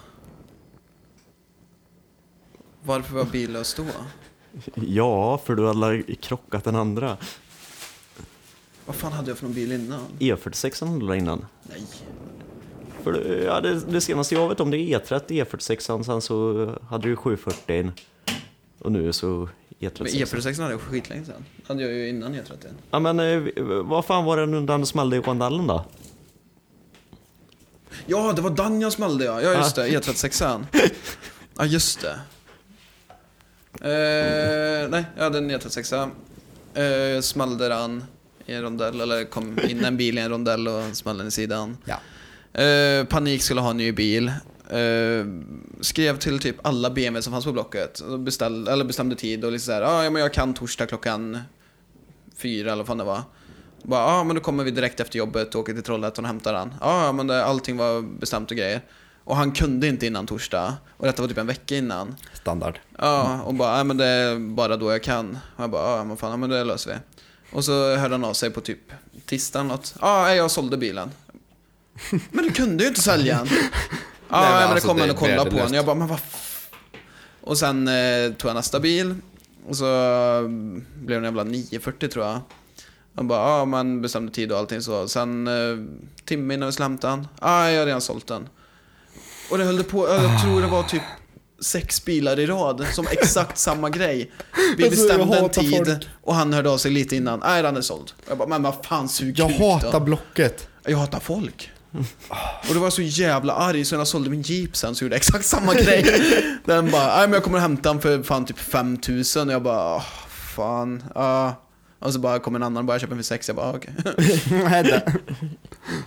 Speaker 2: Varför var jag billös då?
Speaker 3: Ja, för du hade krockat den andra.
Speaker 2: Vad fan hade jag för någon bil innan?
Speaker 3: E46 hade du där innan.
Speaker 2: Nej.
Speaker 3: För det- ja, det, det senaste jag vet om det är E30, E46, sen så hade du 740 och nu så
Speaker 2: Men
Speaker 3: E36.
Speaker 2: E46 hade jag skitlänge sedan. hade jag ju innan E E30.
Speaker 3: Ja men eh, vad fan var det nu den smällde i rondellen då?
Speaker 2: Ja, det var den jag smällde ja. Ja, just det. E36an. Ja, just det. Eh, nej, jag hade en E36a. Eh, smällde den i en rondell, eller kom in en bil i en rondell och smällde den i sidan.
Speaker 1: Ja.
Speaker 2: Eh, panik skulle ha en ny bil. Eh, skrev till typ alla BMW som fanns på Blocket. Och Beställ, eller bestämde tid och liksom såhär, ah, ja men jag kan torsdag klockan fyra eller vad fan det var. Bara, ja ah, men då kommer vi direkt efter jobbet och åker till Trollhättan och hämtar han. "Ah, Ja, ja, men det, allting var bestämt och grejer. Och han kunde inte innan torsdag. Och detta var typ en vecka innan.
Speaker 1: Standard.
Speaker 2: Ja, och bara, nej men det är bara då jag kan. Och jag bara, ja men fan, ja, men det löser vi. Och så hörde han av sig på typ tisdagen något. Ja, nej, jag sålde bilen. Men du kunde ju inte sälja den. Ja,
Speaker 1: men
Speaker 2: nej, men, det
Speaker 1: alltså,
Speaker 2: kom
Speaker 1: det
Speaker 2: han
Speaker 1: är
Speaker 2: och kollade på
Speaker 1: värdelöst.
Speaker 2: den. Jag bara, men vad f-? Och sen eh, tog jag nästa bil. Och så eh, blev det en jävla 940 tror jag. Han bara, ja man bestämde tid och allting så. Sen eh, Ah,
Speaker 1: Ah.
Speaker 2: timme innan vi skulle hämta den. Ja, jag har redan sålt den. Och det höll på, jag tror det var typ sex bilar i rad som exakt samma grej. Vi
Speaker 1: Alltså, jag
Speaker 2: bestämde en
Speaker 1: hatar
Speaker 2: tid
Speaker 1: folk.
Speaker 2: och han hörde av sig lite innan. Nej, den är såld. Jag bara, men vad fan sug
Speaker 1: Jag
Speaker 2: kuk
Speaker 1: hatar
Speaker 2: då.
Speaker 1: Blocket.
Speaker 2: Jag hatar folk. Och då var jag så jävla arg så när jag sålde min jeep sen så gjorde jag exakt samma grej. Den bara, nej men jag kommer hämta den för fan typ 5000 och jag bara, "Åh, fan, ja. Och så bara kommer en annan och bara, jag köper den för 6, jag bara, "Ah, okej.
Speaker 1: Nej, det-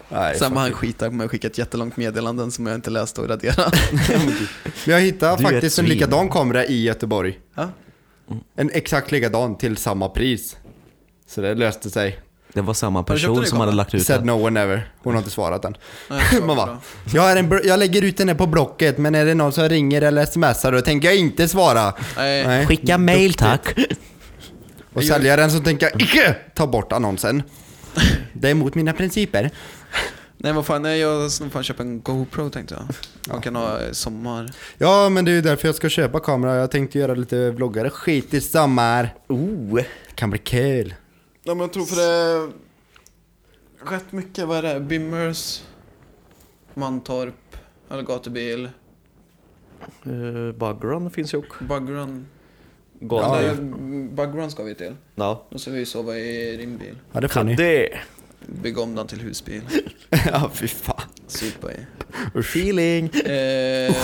Speaker 1: Nej,
Speaker 2: Sen var han skitarg på mig och skickade ett jättelångt meddelande som jag inte läste och raderade.
Speaker 1: Men jag hittade
Speaker 3: Du är ett
Speaker 1: faktiskt en
Speaker 3: svin.
Speaker 1: likadan kamera i Göteborg.
Speaker 2: Ja.
Speaker 1: En exakt likadan till samma pris. Så det löste sig.
Speaker 3: Det var samma
Speaker 2: du köpt en
Speaker 3: person
Speaker 2: ny
Speaker 3: som hade
Speaker 2: kamera?
Speaker 3: lagt ut
Speaker 1: Said
Speaker 3: den.
Speaker 1: no one ever. Hon har inte svarat än.
Speaker 2: Nej, jag
Speaker 1: Man
Speaker 2: svarar
Speaker 1: bara,
Speaker 2: bra.
Speaker 1: jag, är en br- jag lägger ut den här på Blocket men är det någon som ringer eller smsar då tänker jag inte svara.
Speaker 2: Nej.
Speaker 3: Skicka mail tack.
Speaker 1: Och säljaren så tänker jag icke ta bort annonsen. Det är mot mina principer.
Speaker 2: Nej vad fan, nej, jag ska nog fan köpa en GoPro tänkte jag. Man kan ha eh, sommar.
Speaker 1: Ja men det är ju därför jag ska köpa kamera. Jag tänkte göra lite vloggare skit i sommar.
Speaker 3: Oh.
Speaker 1: Kan bli kul.
Speaker 2: Ja men jag tror för det... Rätt mycket, vad är det? Bimmers, Mantorp, eller gatubil,
Speaker 3: Uh, Bugrun finns ju också.
Speaker 2: Bugrun.
Speaker 1: Ja,
Speaker 2: Ja,
Speaker 1: ja.
Speaker 2: Bugrun ska vi till.
Speaker 3: Ja.
Speaker 2: Då ska vi sova i din bil.
Speaker 1: Ja det får ni.
Speaker 3: Det.
Speaker 2: Bygga om den till husbil.
Speaker 1: ja fy fan.
Speaker 2: Supa i.
Speaker 3: Feeling.
Speaker 2: Eh,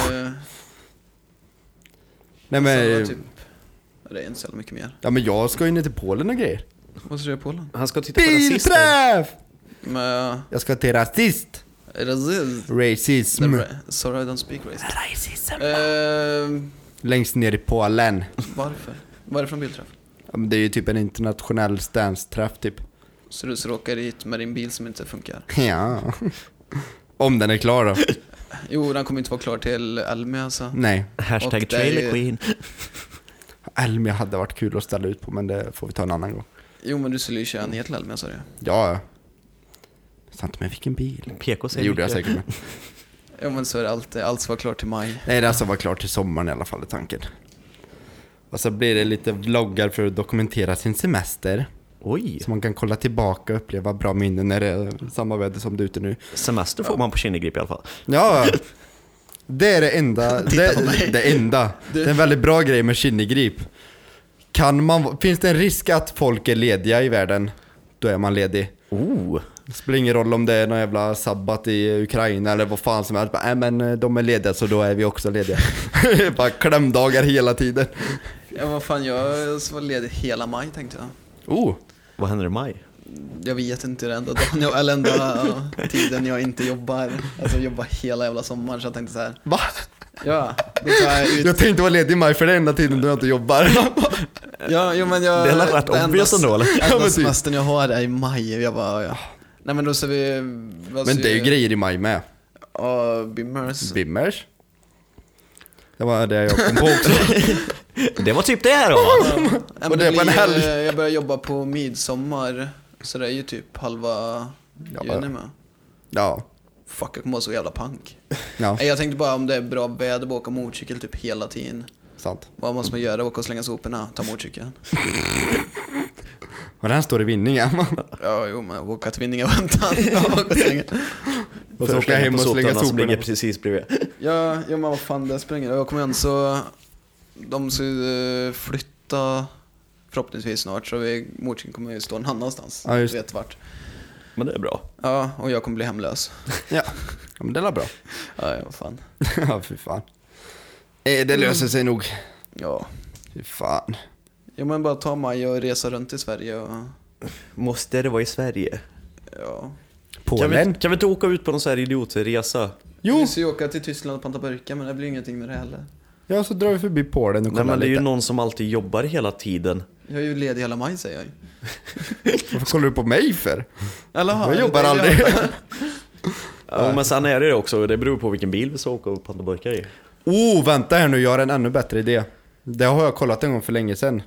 Speaker 1: Nej
Speaker 2: men...
Speaker 1: men,
Speaker 2: typ... Det är inte så jävla mycket mer.
Speaker 1: ja, men jag ska ju ner till Polen och grejer.
Speaker 2: Vad ska du göra på Polen?
Speaker 3: Han ska titta på den sista.
Speaker 1: Bilträff!
Speaker 2: Med
Speaker 1: Jag ska till rasist.
Speaker 2: rasism?
Speaker 1: Racism.
Speaker 2: Sorry I don't speak racist. Eh,
Speaker 3: Racism.
Speaker 1: Längst ner i Polen.
Speaker 2: varför? Vad är det för en bilträff?
Speaker 1: Ja, men det är ju typ en internationell dance-träff typ.
Speaker 2: Så du så råkar hit med din bil som inte funkar?
Speaker 1: Ja. Om den är klar då.
Speaker 2: Jo, den kommer inte vara klar till Elmia alltså.
Speaker 1: Nej.
Speaker 2: Och
Speaker 3: Hashtag
Speaker 2: det är ju-
Speaker 3: trailer queen.
Speaker 1: Elmia hade varit kul att ställa ut på men det får vi ta en annan gång.
Speaker 2: Jo, men du skulle ju köra ner till Elmia sa du
Speaker 1: Ja, ja. Sant med vilken bil.
Speaker 3: PK
Speaker 1: Det
Speaker 3: säger
Speaker 1: gjorde jag
Speaker 3: mycket.
Speaker 1: säkert med.
Speaker 2: Jo, men så är det alltid. Allt ska vara klart till maj.
Speaker 1: Nej, det alltså var klart till sommaren i alla fall är tanken. Och så blir det lite vloggar för att dokumentera sin semester.
Speaker 3: Oj.
Speaker 1: Så man kan kolla tillbaka och uppleva bra minnen när det är samma väder som det är ute nu.
Speaker 3: Semester får man på Kinnegrip i alla fall.
Speaker 1: Ja, det är det enda. Det, det enda. Det är en väldigt bra grej med Kinnegrip. Kan man, finns det en risk att folk är lediga i världen, då är man ledig.
Speaker 3: Oh.
Speaker 1: Det spelar ingen roll om det är någon jävla sabbat i Ukraina eller vad fan som helst. Bara, Nej men eh, de är lediga så då är vi också lediga. Bara klämdagar hela tiden.
Speaker 2: Ja, vad fan, jag ska vara ledig hela maj tänkte jag.
Speaker 1: Oh,
Speaker 3: Vad händer i maj?
Speaker 2: Jag vet inte, det är enda dagen, jag, eller enda ja, tiden jag inte jobbar. Alltså jag jobbar hela jävla sommaren, så jag tänkte så här.
Speaker 1: va?
Speaker 2: Ja, då tar jag ut.
Speaker 1: Jag tänkte vara ledig i maj för det är enda tiden då jag inte jobbar.
Speaker 2: Ja, jo, men jag,
Speaker 3: Det är rätt
Speaker 2: enda-
Speaker 3: obvious ändå, eller?
Speaker 1: Ja, men
Speaker 2: Enda
Speaker 1: typ.
Speaker 2: semestern jag har är i maj. Jag bara, ja. Nej men då ser vi... vad
Speaker 1: Men
Speaker 2: ser
Speaker 1: det är ju
Speaker 2: vi?
Speaker 1: grejer i maj med.
Speaker 2: Ja, Bimmers.
Speaker 1: Bimmers. Det var det jag kom på också.
Speaker 3: Det var typ det här då.
Speaker 2: Ja,
Speaker 1: Och
Speaker 2: men
Speaker 1: det på en
Speaker 2: blir,
Speaker 1: helg.
Speaker 2: eh, Jag börjar jobba på midsommar, så det är ju typ halva
Speaker 1: Ja,
Speaker 2: juni med.
Speaker 1: Ja.
Speaker 2: Fuck, jag kommer vara så jävla pank.
Speaker 1: Ja,
Speaker 2: Nej, Jag tänkte bara om det är bra väder, bara åka motorcykel typ hela tiden.
Speaker 1: sant.
Speaker 2: Vad måste man göra? Åka och slänga soporna, ta motorcykeln.
Speaker 1: Och den står i Vinninga.
Speaker 2: Ja, jo men åka till Vinninga och hämta den. Åka och slänga.
Speaker 1: Och så åker jag hem och slänga
Speaker 3: som ligger
Speaker 1: soporna.
Speaker 3: precis bredvid.
Speaker 2: Ja, ja, men vad fan det springer. Jag kommer igen så, de ska ju eh, flytta förhoppningsvis snart, så vi, motorcykeln kommer ju stå någon annanstans.
Speaker 1: Ja, just
Speaker 2: Du vet vart.
Speaker 3: Men det är bra.
Speaker 2: Ja, och jag kommer bli hemlös.
Speaker 1: Ja. ja, men det är bra.
Speaker 2: Ja, ja, vad fan.
Speaker 1: ja, fy fan. Eh, det löser sig nog.
Speaker 2: Ja.
Speaker 1: Fy fan.
Speaker 2: Ja men bara ta maj och resa runt i Sverige och
Speaker 3: Måste det vara i Sverige?
Speaker 2: ja.
Speaker 3: Kan
Speaker 1: Polen?
Speaker 3: vi, kan vi inte åka ut på någon sån här idiotresa?
Speaker 1: Jo,
Speaker 2: Vi ska ju åka till Tyskland och panta burkar men det blir ingenting med det heller.
Speaker 1: ja så drar vi förbi Polen och
Speaker 3: Nej
Speaker 1: kollar
Speaker 3: men det är ju
Speaker 1: lite.
Speaker 3: någon som alltid jobbar hela tiden.
Speaker 2: Jag är ju ledig hela maj säger jag ju.
Speaker 1: Varför kollar du på mig för?
Speaker 2: Eller har
Speaker 1: Jag jobbar
Speaker 2: det-
Speaker 1: aldrig.
Speaker 3: Ja, men sen är det ju också, det beror på vilken bil vi ska åka och panta burkar i.
Speaker 1: Oh, vänta här nu, jag har en ännu bättre idé. Det har jag kollat en gång för länge sedan.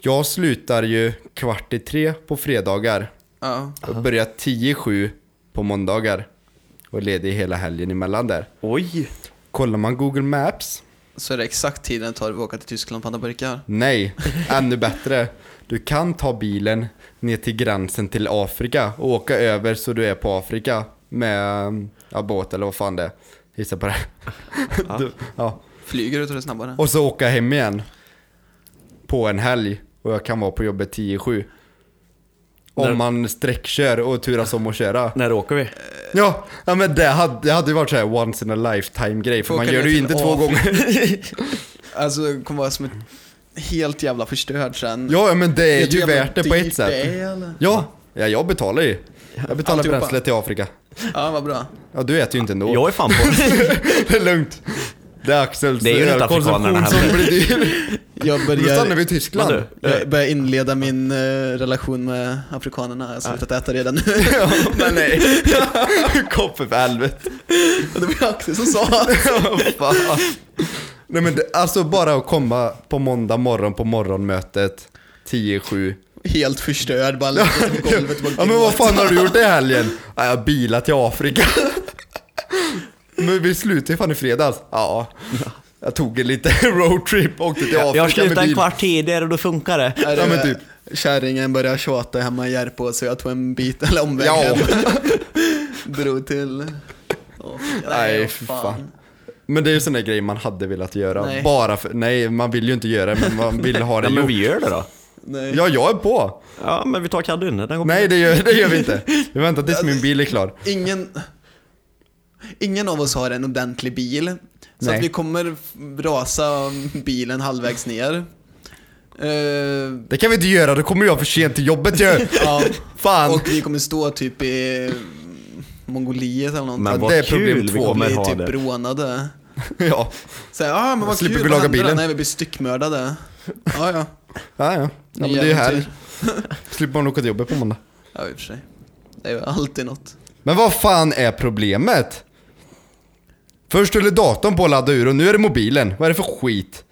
Speaker 1: Jag slutar ju kvart i tre på fredagar
Speaker 2: Ja.
Speaker 1: och börjar tio i sju på måndagar. Och är ledig hela helgen emellan där.
Speaker 3: Oj!
Speaker 1: Kollar man Google Maps
Speaker 2: Så är det exakt tiden det tar att åka till Tyskland och panta burkar.
Speaker 1: Nej, ännu bättre. Du kan ta bilen ner till gränsen till Afrika och åka över så du är på mm, Afrika med ja, båt eller vad fan det är. Gissa på det. Du, ja.
Speaker 2: Flyger ut och det är snabbare.
Speaker 1: Och så åka hem igen. På en helg. Och jag kan vara på jobbet 10-7.
Speaker 3: När-
Speaker 1: Om man sträckkör och turas om att köra.
Speaker 3: När åker vi?
Speaker 1: Ja, ja men det hade, det hade ju varit så här once in a lifetime grej. För
Speaker 2: Får
Speaker 1: man
Speaker 2: åka
Speaker 1: gör det
Speaker 2: ner
Speaker 1: ju
Speaker 2: till
Speaker 1: inte två
Speaker 2: Afrika.
Speaker 1: gånger.
Speaker 2: Alltså det kommer vara som ett helt jävla förstörd sen.
Speaker 1: Ja, men det är
Speaker 2: Vet du
Speaker 1: ju
Speaker 2: hur jävla
Speaker 1: värt det på
Speaker 2: dyrt
Speaker 1: ett sätt.
Speaker 2: det är, eller?
Speaker 1: Ja, ja jag betalar ju. Jag betalar
Speaker 2: Alltihopa.
Speaker 1: bränslet till Afrika.
Speaker 2: Ja, vad bra.
Speaker 1: Ja, du äter ju inte ändå.
Speaker 3: Jag är fan på
Speaker 1: Det är lugnt. Det är Axels
Speaker 3: Det är ju inte
Speaker 1: ölkonsumtion
Speaker 3: afrikanerna
Speaker 1: som
Speaker 3: heller.
Speaker 1: blir dyr.
Speaker 2: Jag
Speaker 1: Nu stannar vi i
Speaker 2: börjar,
Speaker 1: Tyskland.
Speaker 3: Men
Speaker 2: jag börjar inleda min eh, relation med afrikanerna. Jag har slutat äta redan nu.
Speaker 1: Ja, men nej. Koppe för helvete.
Speaker 2: Och det var ju Axel som sa.
Speaker 1: Ja, fan. Nej men det, alltså bara att komma på måndag morgon på morgonmötet 10-7.
Speaker 2: Helt förstörd, bara ligger på golvet. bara
Speaker 1: Ja men vad fan har du gjort i helgen? Ja, jag har bilat till Afrika. Men vi slutade ju fan i fredags. Ja. Jag tog en liten roadtrip och åkte till Afrika
Speaker 3: Jag slutar
Speaker 1: med
Speaker 3: en
Speaker 1: bil.
Speaker 3: kvart tidigare och då funkar det.
Speaker 2: Är det-
Speaker 1: Ja, men typ.
Speaker 2: Kärringen börjar tjata hemma i Järpå så jag tog en bit, eller omväg
Speaker 1: Ja.
Speaker 2: hem. Drog till... Åh,
Speaker 1: Nej, fy fan. Men det är ju sån där grej man hade velat göra.
Speaker 2: Nej.
Speaker 1: Bara för, nej, man vill ju inte göra det, men man vill ha det
Speaker 3: Ja, men
Speaker 1: gjort.
Speaker 3: vi gör det då.
Speaker 2: Nej.
Speaker 1: Ja, jag är på.
Speaker 3: Ja, men vi tar Kadunne. Den går på.
Speaker 1: Nej, det gör, det gör vi inte. Vi väntar tills min bil är klar.
Speaker 2: Ingen... Ingen av oss har en ordentlig bil. Så
Speaker 1: Nej.
Speaker 2: att vi kommer f- rasa bilen halvvägs ner. Eh,
Speaker 1: Det kan vi inte göra, då kommer jag för sent till jobbet ju.
Speaker 2: ja.
Speaker 1: Fan.
Speaker 2: Och vi kommer stå typ i Mongoliet eller någonting.
Speaker 3: Men vad
Speaker 1: det är problem
Speaker 3: kul vi
Speaker 1: två.
Speaker 3: kommer
Speaker 2: blir
Speaker 3: ha
Speaker 2: typ
Speaker 3: det.
Speaker 2: rånade.
Speaker 1: ja.
Speaker 2: Såhär, ja ah, men vad
Speaker 1: Slipper
Speaker 2: kul,
Speaker 1: vi
Speaker 2: vad
Speaker 1: laga
Speaker 2: hände då?
Speaker 1: bilen.
Speaker 2: Nej, vi blir styckmördade. Ja, ja.
Speaker 1: Ja, ja. ja men det är ju här.
Speaker 2: Äventyr.
Speaker 1: Slipper man åka till jobbet på måndag.
Speaker 2: Ja, i och för sig. Det är ju alltid något.
Speaker 1: Men vad fan är problemet? Först skulle datorn på att ladda ur och nu är det mobilen. Vad är det för skit?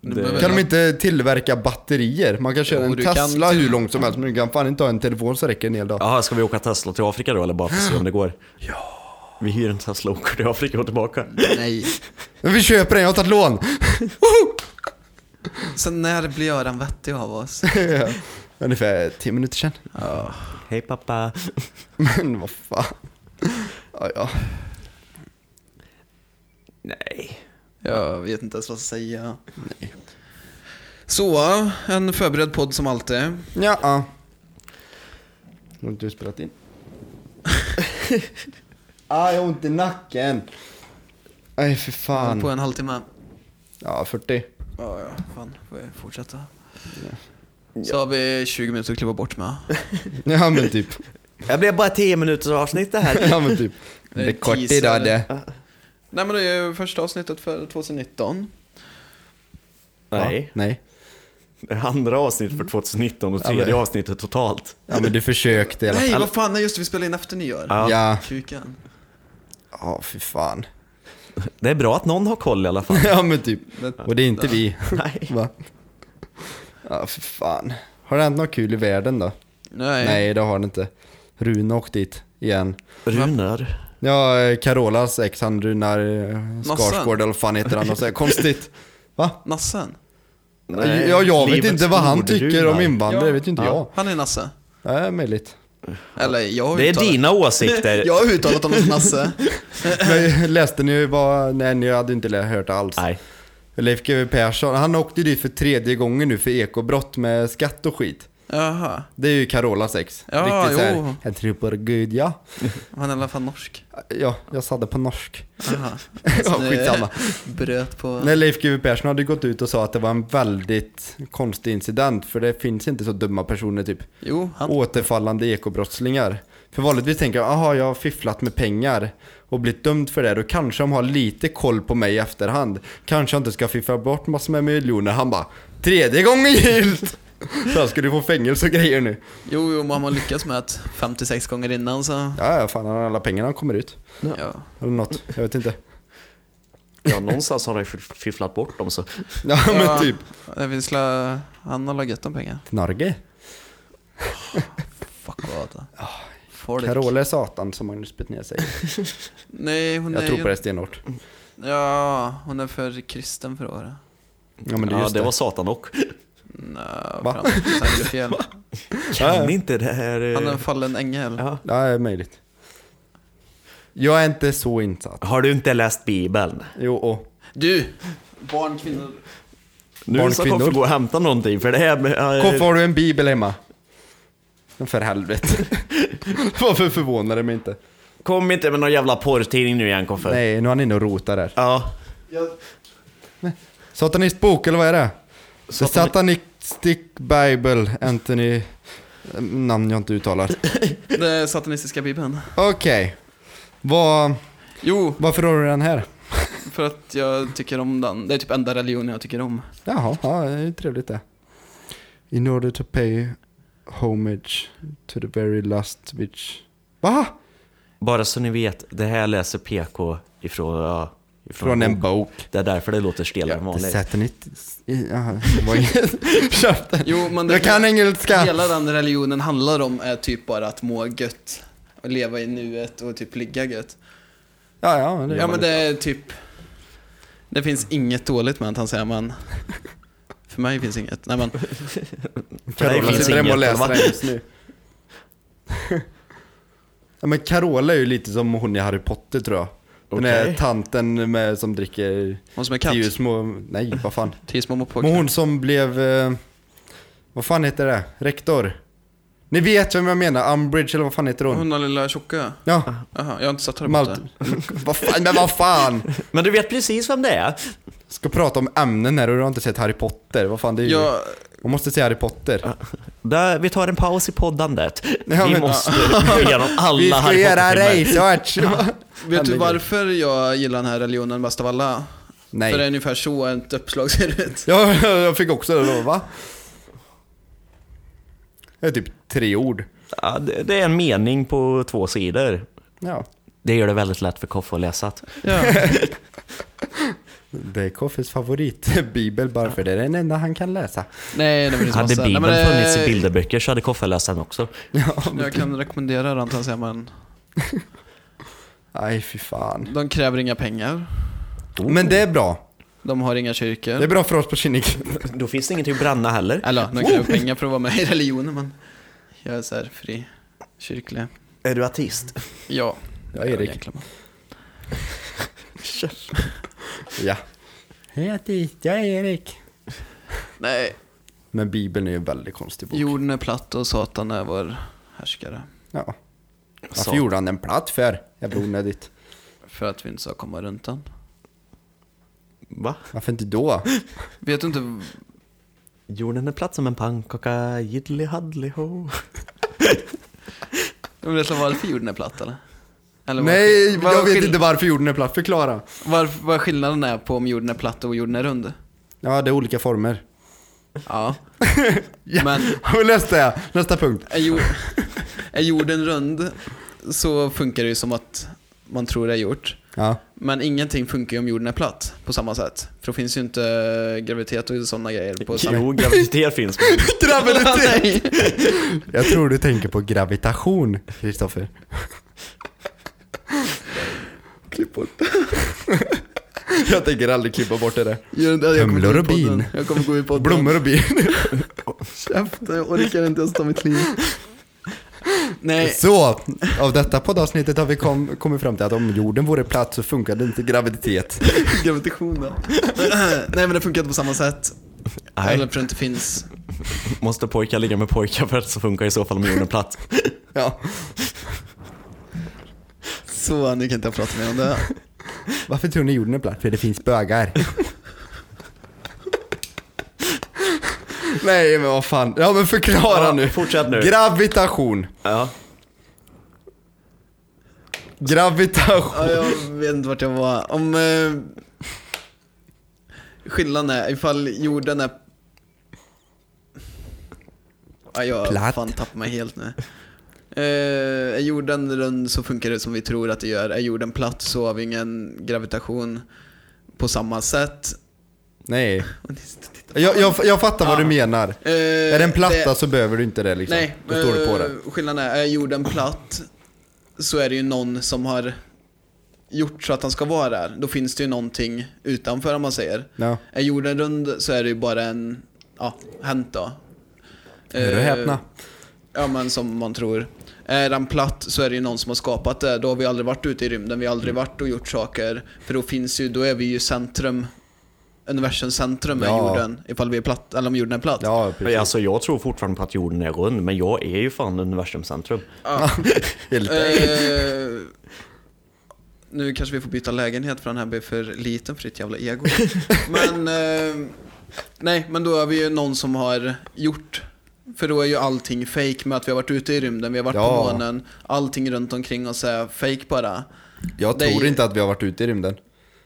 Speaker 2: Du
Speaker 3: Det-
Speaker 2: behöver-
Speaker 1: Kan de inte tillverka batterier? Man kan köra
Speaker 2: Jo,
Speaker 1: en
Speaker 2: du kan-
Speaker 1: Tesla hur långt som helst men du kan fan inte ha en telefon så räcker en hel dag.
Speaker 3: Jaha, ska vi åka Tesla till Afrika då eller bara för att se om det går? Ja. Vi hyr en Tesla och åker till Afrika och tillbaka.
Speaker 2: Nej.
Speaker 1: Men vi köper den, jag har tagit lån!
Speaker 2: Så när blir Göran vettig av oss?
Speaker 1: Ungefär 10 minuter sedan.
Speaker 3: Hej pappa.
Speaker 1: Men vad fan. Ja, ja.
Speaker 3: Nej.
Speaker 2: Jag vet inte ens vad jag ska säga. Så, en förberedd podd som alltid.
Speaker 1: Ja, ja. Har inte du spelat in? ah, jag har ont i nacken. Nej, för
Speaker 2: På
Speaker 1: fan.
Speaker 2: en halvtimme.
Speaker 1: Ja, 40.
Speaker 2: Ja, ja, fan. Får vi fortsätta? Så har vi 20 minuter att kliva bort med.
Speaker 1: Ja, men typ.
Speaker 3: Jag blev bara 10 minuters avsnitt det här.
Speaker 1: Ja, men typ.
Speaker 2: Det är
Speaker 1: Det är kort
Speaker 2: teaser.
Speaker 1: idag det.
Speaker 2: Nej men det är ju första avsnittet för 2019.
Speaker 3: Nej.
Speaker 1: Va? Nej.
Speaker 3: Det är andra avsnittet för 2019 och
Speaker 1: Ja, men-
Speaker 3: tredje avsnittet totalt.
Speaker 1: Ja, men du försökte i alla
Speaker 2: Nej,
Speaker 1: fall.
Speaker 2: vad fan, nej just det, vi spelar in efter nyår.
Speaker 3: Ja.
Speaker 1: Ja.
Speaker 2: Kuken.
Speaker 1: Ja, för fan.
Speaker 3: Det är bra att någon har koll i alla fall.
Speaker 1: Ja, men typ.
Speaker 2: Det-
Speaker 1: Och det är inte vi.
Speaker 3: Nej.
Speaker 1: Va? Ja, för fan. Har det hänt något kul i världen då?
Speaker 2: Nej.
Speaker 1: Nej, det har det inte. Rune åkte dit igen.
Speaker 3: Runar.
Speaker 1: Ja, eh, Carolas ex, han Runar eh, Skarsgård eller vad fan heter han och så här konstigt. Va?
Speaker 2: Nassen?
Speaker 3: Nej.
Speaker 1: Ja, jag vet
Speaker 3: Livets
Speaker 1: inte vad han tycker om
Speaker 3: ord-Runar.
Speaker 1: invandrare, det vet ju inte
Speaker 3: Ja.
Speaker 2: Han är Nasse.
Speaker 1: jag. Nej, möjligt.
Speaker 2: Eller jag har
Speaker 3: Det är
Speaker 2: uttalat-
Speaker 3: dina åsikter.
Speaker 2: Jag har uttalat honom som Nasse.
Speaker 1: Men läste ni vad, nej ni hade inte lä- hört alls.
Speaker 3: Nej.
Speaker 1: Leif GW Persson, han åkte ju dit för tredje gången nu för ekobrott med skatt och skit.
Speaker 2: Jaha.
Speaker 1: Det är ju Carolas ex.
Speaker 2: Ja,
Speaker 1: Riktigt så
Speaker 2: jo.
Speaker 1: här, jag tror på Gud ja.
Speaker 2: Han är i alla fall norsk.
Speaker 1: Ja, jag sa det på norsk.
Speaker 2: Jaha.
Speaker 1: Ja, skitsamma.
Speaker 2: Bröt på...
Speaker 1: När Leif GW Persson hade gått ut och sa att det var en väldigt konstig incident för det finns inte så dumma personer typ.
Speaker 2: Jo, han.
Speaker 1: återfallande ekobrottslingar. För vanligtvis tänker jag, aha jag har fifflat med pengar och blivit dömd för det. Då kanske de har lite koll på mig i efterhand. Kanske jag inte ska fiffla bort massor med miljoner. Han bara, tredje gången gillt! Så han skulle få fängelse och grejer nu.
Speaker 2: Jo, jo, men har man lyckats med att 56 gånger innan så...
Speaker 1: Ja, ja, fan han har alla pengarna han kommer ut.
Speaker 2: Ja.
Speaker 1: Eller något, jag vet inte.
Speaker 3: Ja, någonstans har han ju fifflat bort dem så.
Speaker 1: Ja men typ.
Speaker 2: Ja, vi slå... Han har lagt gött om pengar.
Speaker 1: Knarge.
Speaker 2: Fuck vad. Folk.
Speaker 1: Carola är satan som Magnus Betnér säger.
Speaker 2: Nej, hon
Speaker 1: Jag
Speaker 2: är
Speaker 1: tror
Speaker 2: ju...
Speaker 1: på det stenhårt.
Speaker 2: Ja, hon är för kristen för att vara det.
Speaker 1: Ja men det är
Speaker 3: Ja,
Speaker 1: just
Speaker 3: det var satan och.
Speaker 2: Nå,
Speaker 1: Va?
Speaker 2: fram tills han gjorde fel.
Speaker 3: Kan
Speaker 1: Ja.
Speaker 3: inte det här... eh,
Speaker 2: Han är en fallen ängel.
Speaker 3: ja.
Speaker 1: Ja, det är möjligt. Jag är inte så insatt.
Speaker 3: Har du inte läst Bibeln?
Speaker 1: Jo, och.
Speaker 2: Du! Barn, kvinnor.
Speaker 3: Nu
Speaker 1: Barn,
Speaker 3: ska
Speaker 1: kvinnor.
Speaker 3: Koffe gå och hämta någonting för det här med... eh,
Speaker 1: Koffe, har du en bibel hemma? Men För helvete. Varför förvånar det mig inte?
Speaker 3: Kom inte med någon jävla porrtidning nu igen Koffe.
Speaker 1: Nej, nu är han inne och rotar där.
Speaker 3: Ja.
Speaker 2: Jag,
Speaker 1: Satanistbok, eller vad är det? The
Speaker 3: Satan-
Speaker 1: Satanistic Bible, Anthony... Namn jag inte uttalar.
Speaker 2: den satanistiska bibeln.
Speaker 1: Okej. Vad-
Speaker 2: Jo,
Speaker 1: varför har du den här?
Speaker 2: för att jag tycker om den. Det är typ enda religionen jag tycker om.
Speaker 1: Jaha, ja, det är ju trevligt det. In order to pay homage to the very last which... Va?
Speaker 3: Bara så ni vet, det här läser PK ifrån... Ja, ifrån,
Speaker 1: Från en bok.
Speaker 3: Det är därför det låter stelare än
Speaker 1: The
Speaker 3: vanligt.
Speaker 1: Satanist... Jaha, det var inget. Köp den.
Speaker 2: Jo, men det,
Speaker 1: Jag kan engelska!
Speaker 2: Hela den religionen handlar om är typ bara att må gött. Och leva i nuet och typ ligga gött.
Speaker 1: Ja, ja, det
Speaker 2: Ja men det är typ... Det finns inget dåligt med att han säger men... För mig finns inget. Nej men,
Speaker 3: Nej, det
Speaker 1: Carola
Speaker 3: finns
Speaker 1: sitter hemma och
Speaker 3: inget,
Speaker 1: läser
Speaker 3: eller
Speaker 1: den just nu. ja, men Carola är ju lite som hon i Harry Potter tror jag. Den
Speaker 3: Okej.
Speaker 1: är tanten med, som dricker
Speaker 2: hon som är katt.
Speaker 1: tio små... Nej, vad fan.
Speaker 2: Tio små
Speaker 1: Men
Speaker 2: mopåkar.
Speaker 1: hon som blev... Eh, vad fan heter det? Rektor? Ni vet vem jag menar, Umbridge eller vad fan heter hon?
Speaker 2: Hon har lilla tjocka.
Speaker 1: Ja,
Speaker 2: Jaha, jag har inte satt här på
Speaker 1: Malt...
Speaker 2: det.
Speaker 1: vad fan, men vad fan!
Speaker 3: Men du vet precis vem det är?
Speaker 1: Ska prata om ämnen här och du har inte sett Harry Potter. Vad fan, det är ju...
Speaker 2: Jag,
Speaker 1: Man måste se Harry Potter.
Speaker 3: Där, vi tar en paus i poddandet.
Speaker 1: Ja,
Speaker 3: vi
Speaker 1: men-
Speaker 3: måste gå igenom alla
Speaker 1: Vi ska
Speaker 3: Harry
Speaker 1: göra
Speaker 3: Potter-filmer.
Speaker 1: research!
Speaker 2: vet du
Speaker 1: Herregud.
Speaker 2: varför jag gillar den här religionen bäst av alla?
Speaker 1: Nej.
Speaker 2: För det är ungefär så ett uppslag ser ut.
Speaker 1: Ja, jag fick också det då, va? Det är typ tre ord.
Speaker 3: Ja, det, det är en mening på två sidor.
Speaker 1: Ja.
Speaker 3: Det gör det väldigt lätt för Koffe att läsa.
Speaker 2: Ja.
Speaker 1: Det är Koffes favorit, Bibel, bara för det är den enda han kan läsa.
Speaker 2: Nej, det finns
Speaker 3: Hade
Speaker 2: massa.
Speaker 3: Bibeln
Speaker 2: Nej, men eh, det-
Speaker 3: funnits i bilderböcker så hade Koffe läst den också.
Speaker 2: Jag kan rekommendera den till men
Speaker 1: Aj, fy fan.
Speaker 2: De kräver inga pengar.
Speaker 1: Men det är bra.
Speaker 2: De har inga kyrkor.
Speaker 1: Det är bra för oss på Kinnik.
Speaker 3: Då finns det ingenting att bränna heller.
Speaker 2: Eller de kräver
Speaker 1: Oh!
Speaker 2: pengar för att vara med i religionen men jag är så här fri kyrklig.
Speaker 3: Är du ateist?
Speaker 2: Ja.
Speaker 1: Ja, Erik.
Speaker 2: egentligen.
Speaker 1: Ja. Hej Atis, jag är Erik.
Speaker 2: Nej,
Speaker 1: Men Bibeln är ju en väldigt konstig bok.
Speaker 2: jorden är platt och Satan är vår härskare.
Speaker 1: Ja. Varför
Speaker 3: Så.
Speaker 1: gjorde han den platt för? Jävla onödigt.
Speaker 2: För att vi inte ska komma runt den.
Speaker 3: Va?
Speaker 1: Varför inte då?
Speaker 2: Vet du inte,
Speaker 3: Jorden är platt som en pannkaka, jiddly haddly ho.
Speaker 2: vet du varför jorden är platt eller? eller
Speaker 1: Nej,
Speaker 2: vad-
Speaker 1: jag
Speaker 2: vad
Speaker 1: vet
Speaker 2: skill-
Speaker 1: inte varför jorden är platt. Förklara.
Speaker 2: varf- Vad skillnaden är på om jorden är platt och jorden är rund?
Speaker 1: Ja, det är olika former.
Speaker 2: Ja.
Speaker 1: Ja.
Speaker 2: Men
Speaker 1: Och läs det! Nästa punkt.
Speaker 2: är, jord, är jorden rund så funkar det ju som att man tror det är gjort.
Speaker 1: Ja.
Speaker 2: Men ingenting funkar ju om jorden är platt på samma sätt. För då finns ju inte gravitet och sådana grejer på samma
Speaker 3: Jo, graviditet finns.
Speaker 1: Graviditet!
Speaker 2: Nej.
Speaker 1: Jag tror du tänker på gravitation, Kristoffer. Klipp bort Jag tänker aldrig klippa bort det där.
Speaker 2: Gör inte det, jag kommer
Speaker 1: Humlor
Speaker 2: gå
Speaker 1: och
Speaker 2: i podden.
Speaker 1: bin.
Speaker 2: Jag kommer gå i podden.
Speaker 1: Blommor och bin.
Speaker 2: Käft, jag orkar inte ens ta mitt liv. Nej,
Speaker 1: Så, av detta poddavsnittet har vi kom, kommit fram till att om jorden vore platt så funkade inte graviditet.
Speaker 2: gravitation då. Nej men det funkar inte på samma sätt. Eller
Speaker 3: Nej,
Speaker 2: för det inte finns.
Speaker 3: måste pojkar ligga med pojkar för att så funkar i så fall om jorden är platt.
Speaker 1: Ja.
Speaker 2: Så, nu kan inte jag prata mer om det.
Speaker 1: Varför tror ni jorden är platt? För det finns bögar. Nej men vad fan. Ja men förklara
Speaker 3: Ja,
Speaker 1: nu.
Speaker 3: fortsätt nu.
Speaker 1: Gravitation.
Speaker 3: Ja.
Speaker 1: Gravitation.
Speaker 2: Ja, jag vet inte vart jag var. Om... Eh, skillnaden är ifall jorden är... Ja, jag har
Speaker 1: Platt.
Speaker 2: fan tappat mig helt nu. Eh, är jorden rund så funkar det som vi tror att det gör. Är jorden platt så har vi ingen gravitation på samma sätt.
Speaker 1: Nej. Jag, jag, jag fattar vad du menar.
Speaker 2: Eh,
Speaker 1: Är den platta
Speaker 2: det-
Speaker 1: så behöver du inte det liksom.
Speaker 2: Nej,
Speaker 1: Då står det på
Speaker 2: eh,
Speaker 1: det.
Speaker 2: skillnaden är, är jorden platt så är det ju någon som har gjort så att han ska vara där. Då finns det ju någonting utanför om man säger.
Speaker 1: Ja.
Speaker 2: Är jorden rund så är det ju bara en, ja, hänt då.
Speaker 1: Hör och
Speaker 2: Eh,
Speaker 1: häpna.
Speaker 2: Ja men som man tror. Är den platt så är det ju någon som har skapat det. Då har vi
Speaker 1: Mm.
Speaker 2: aldrig varit ute i rymden, vi har aldrig varit och gjort saker. För då finns ju, då är vi ju centrum universums centrum
Speaker 1: Ja.
Speaker 2: är jorden, ifall vi är platt, eller om jorden är platt.
Speaker 1: Ja, precis.
Speaker 3: Men Alltså jag tror fortfarande på att jorden är rund, men jag är ju fan universumcentrum.
Speaker 1: Helt-
Speaker 2: Eh, nu kanske vi får byta lägenhet för den här blir för liten för ditt jävla ego. Men, eh, nej, men då är vi ju någon som har gjort, för då är ju allting fake med att vi har varit ute i rymden, vi har varit
Speaker 1: Ja.
Speaker 2: på månen, allting runt omkring oss är fake bara.
Speaker 1: Jag
Speaker 2: det är
Speaker 1: tror
Speaker 2: ju-
Speaker 1: inte att vi har varit ute i rymden.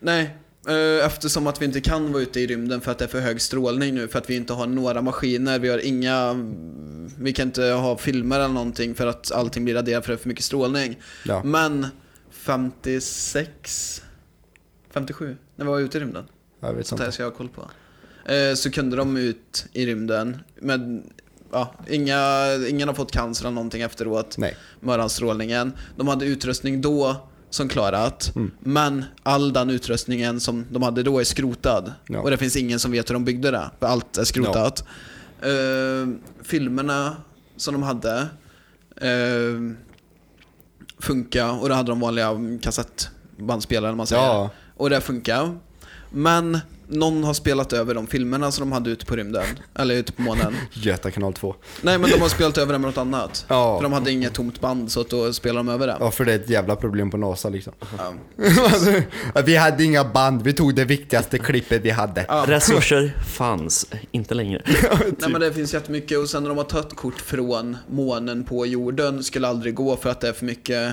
Speaker 2: Nej, eh, eftersom att vi inte kan vara ute i rymden för att det är för hög strålning nu, för att vi inte har några maskiner, vi har inga, vi kan inte ha filmer eller någonting för att allting blir raderat för det är för mycket strålning.
Speaker 1: Ja.
Speaker 2: Men 56, 57, när vi var ute i rymden,
Speaker 1: Jag vet
Speaker 2: sånt här
Speaker 1: inte.
Speaker 2: ska jag ha koll på. Eh, Så kunde de ut i rymden, men ja, inga, ingen har fått cancer eller någonting efteråt
Speaker 1: Nej.
Speaker 2: möranstrålningen. De hade utrustning då som klarat,
Speaker 1: Mm.
Speaker 2: men all den utrustningen som de hade då är skrotad.
Speaker 1: Ja.
Speaker 2: Och det finns ingen som vet hur de byggde det, för allt är skrotat. Eh, filmerna som de hade eh, funka och då hade de vanliga kassettbandspelare om man säger.
Speaker 1: Ja.
Speaker 2: Och det funkar. Men någon har spelat över de filmerna som de hade ute på rymden, eller ute på månen.
Speaker 1: Göta kanal 2.
Speaker 2: Nej men de har spelat över det med något annat.
Speaker 1: Ja.
Speaker 2: För de hade inget tomt band så att då spelade de över det.
Speaker 1: Ja, för det är ett jävla problem på NASA liksom.
Speaker 2: Ja.
Speaker 1: Alltså, vi hade inga band, vi tog det viktigaste klippet vi hade.
Speaker 2: Ja.
Speaker 3: Resurser fanns, inte längre.
Speaker 2: Nej men det finns jättemycket och sen när de har tagit kort från månen på jorden skulle aldrig gå för att det är för mycket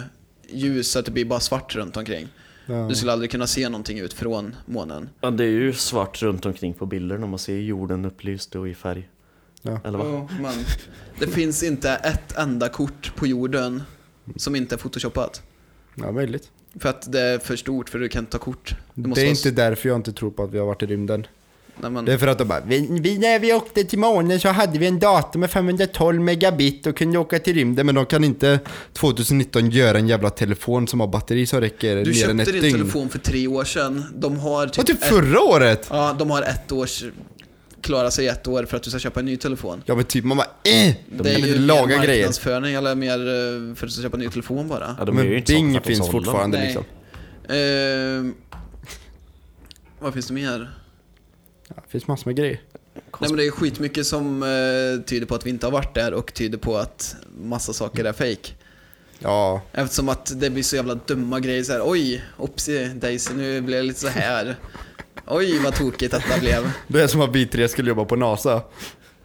Speaker 2: ljus så att det blir bara svart runt omkring.
Speaker 1: Ja.
Speaker 2: Du skulle aldrig kunna se någonting ut från månen.
Speaker 3: Ja, det är ju svart runt omkring på bilderna, man ser jorden upplyst och i färg.
Speaker 1: Ja.
Speaker 3: Eller vad?
Speaker 2: Ja, men det finns inte ett enda kort på jorden som inte är photoshoppat.
Speaker 1: Ja, möjligt.
Speaker 2: För att det är för stort för du kan inte ta kort. Du måste
Speaker 1: Det är
Speaker 2: ha-
Speaker 1: inte därför jag inte tror på att vi har varit i rymden.
Speaker 2: Nej, men...
Speaker 1: Det är för att de bara, vi, vi, när vi åkte till månen så hade vi en dator med 512 megabit och kunde åka till rymden men de kan inte 2019 göra en jävla telefon som har batteri som räcker
Speaker 2: Du
Speaker 1: mer än
Speaker 2: köpte
Speaker 1: ett
Speaker 2: din
Speaker 1: dygn.
Speaker 2: telefon för tre år sedan. De har
Speaker 1: Det var
Speaker 2: typ,
Speaker 1: typ
Speaker 2: ett-
Speaker 1: förra året!
Speaker 2: Ja, de har ett års... Klara sig i ett år för att du ska köpa en ny telefon.
Speaker 1: Ja men typ man bara, eh, de kan inte laga
Speaker 2: mer
Speaker 1: grejer.
Speaker 2: marknadsföring eller mer eh, för att du ska köpa en ny telefon bara.
Speaker 3: Ja, de är ju
Speaker 1: Men
Speaker 3: inte sådana för
Speaker 1: Bing
Speaker 3: att de
Speaker 1: finns
Speaker 3: sålde dem.
Speaker 1: fortfarande
Speaker 2: Nej.
Speaker 1: liksom.
Speaker 2: Ehm, vad finns det mer?
Speaker 1: Ja, det finns massor med grejer.
Speaker 2: Nej men det är skitmycket som eh, tyder på att vi inte har varit där och tyder på att massa saker är fake.
Speaker 1: Ja,
Speaker 2: Eftersom att det blir så jävla dumma grejer så här. oj, opsi, Daisy, nu blev det lite så här. Oj, vad tokigt detta blev.
Speaker 1: det är som att vi tre skulle jobba på NASA.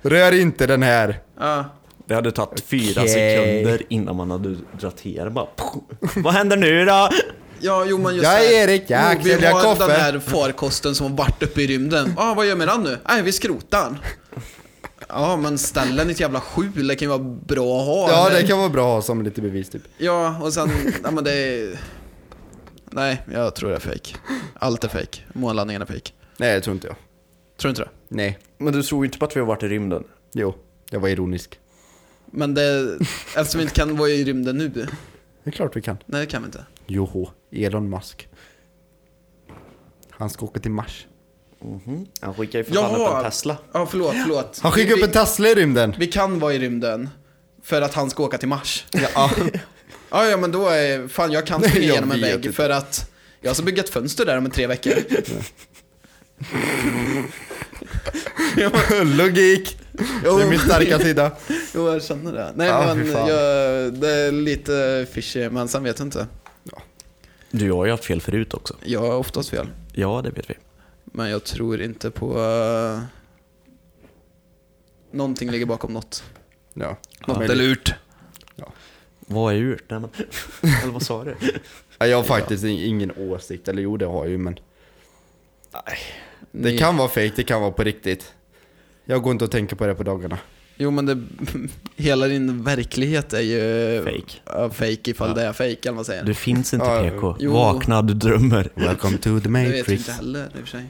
Speaker 1: Rör inte den här!
Speaker 2: Ja.
Speaker 3: Det hade tagit fyra
Speaker 1: Okej.
Speaker 3: sekunder innan man hade draterat bara. Vad händer nu då?
Speaker 2: Ja, jo men just
Speaker 1: Jag är
Speaker 2: här.
Speaker 1: Erik, jag
Speaker 2: Jo, Vi
Speaker 1: säljer
Speaker 2: har
Speaker 1: kaffe.
Speaker 2: den här farkosten som har varit uppe i rymden. Ah, vad gör vi med den nu? Nej, vi skrotar den. Ja, men ställ den i ett jävla skjul, det kan ju vara bra att ha.
Speaker 1: Ja
Speaker 2: eller?
Speaker 1: det kan vara bra att ha som lite bevis typ.
Speaker 2: Ja, och sen, ja men det är... Nej, jag tror det är fake. Allt är fake. Månlandningen är fake.
Speaker 1: Nej det tror inte jag.
Speaker 2: Tror du inte det?
Speaker 1: Nej,
Speaker 3: Men du tror ju inte på att vi har varit i rymden?
Speaker 1: jo. Jag var ironisk.
Speaker 2: Men det, eftersom vi inte kan vara i rymden nu.
Speaker 1: Det är klart vi kan.
Speaker 2: Nej, det kan vi inte.
Speaker 1: Joho, Elon Musk. Han ska åka till Mars.
Speaker 3: Mhm. Han skickar ju för fan upp
Speaker 2: Jaha.
Speaker 3: en Tesla.
Speaker 2: Ja, förlåt, förlåt.
Speaker 1: Han skickar
Speaker 2: Vi-
Speaker 1: upp en Tesla i rymden!
Speaker 2: Vi kan vara i rymden för att han ska åka till Mars.
Speaker 1: Ja,
Speaker 2: Ja, ja men då är, fan jag kan springa
Speaker 1: Jag
Speaker 2: igenom en
Speaker 1: vet
Speaker 2: vägg
Speaker 1: inte.
Speaker 2: för att jag ska bygga ett fönster där om tre veckor.
Speaker 1: logik! Det är min starka sida.
Speaker 2: Jo, jag känner det. Nej,
Speaker 1: Ja,
Speaker 2: men
Speaker 1: fy fan.
Speaker 2: jag, det är lite fishy, men sen vet jag inte.
Speaker 3: Du har ju haft fel förut också.
Speaker 2: Jag har oftast fel.
Speaker 3: Ja, det vet vi.
Speaker 2: Men jag tror inte på... eh, någonting ligger bakom något.
Speaker 1: Ja.
Speaker 2: Något
Speaker 1: Men-
Speaker 2: är lurt.
Speaker 3: Vad är urt? Nej, men... Eller vad sa du?
Speaker 1: Ja, Jag har faktiskt in- ingen åsikt, eller jo det har jag ju men. Det
Speaker 2: Ni-
Speaker 1: kan vara fake, det kan vara på riktigt. Jag går inte och tänker på det på dagarna.
Speaker 2: Jo, men det, hela din verklighet är ju...
Speaker 3: Fake.
Speaker 2: Ja, fake ifall det är fake, eller vad man säger.
Speaker 3: Du finns inte
Speaker 1: Ja,
Speaker 3: PK.
Speaker 2: jo.
Speaker 3: Vakna, du drömmer.
Speaker 1: Welcome to the
Speaker 2: det vet vi
Speaker 1: matrix.
Speaker 2: inte heller, i och för sig.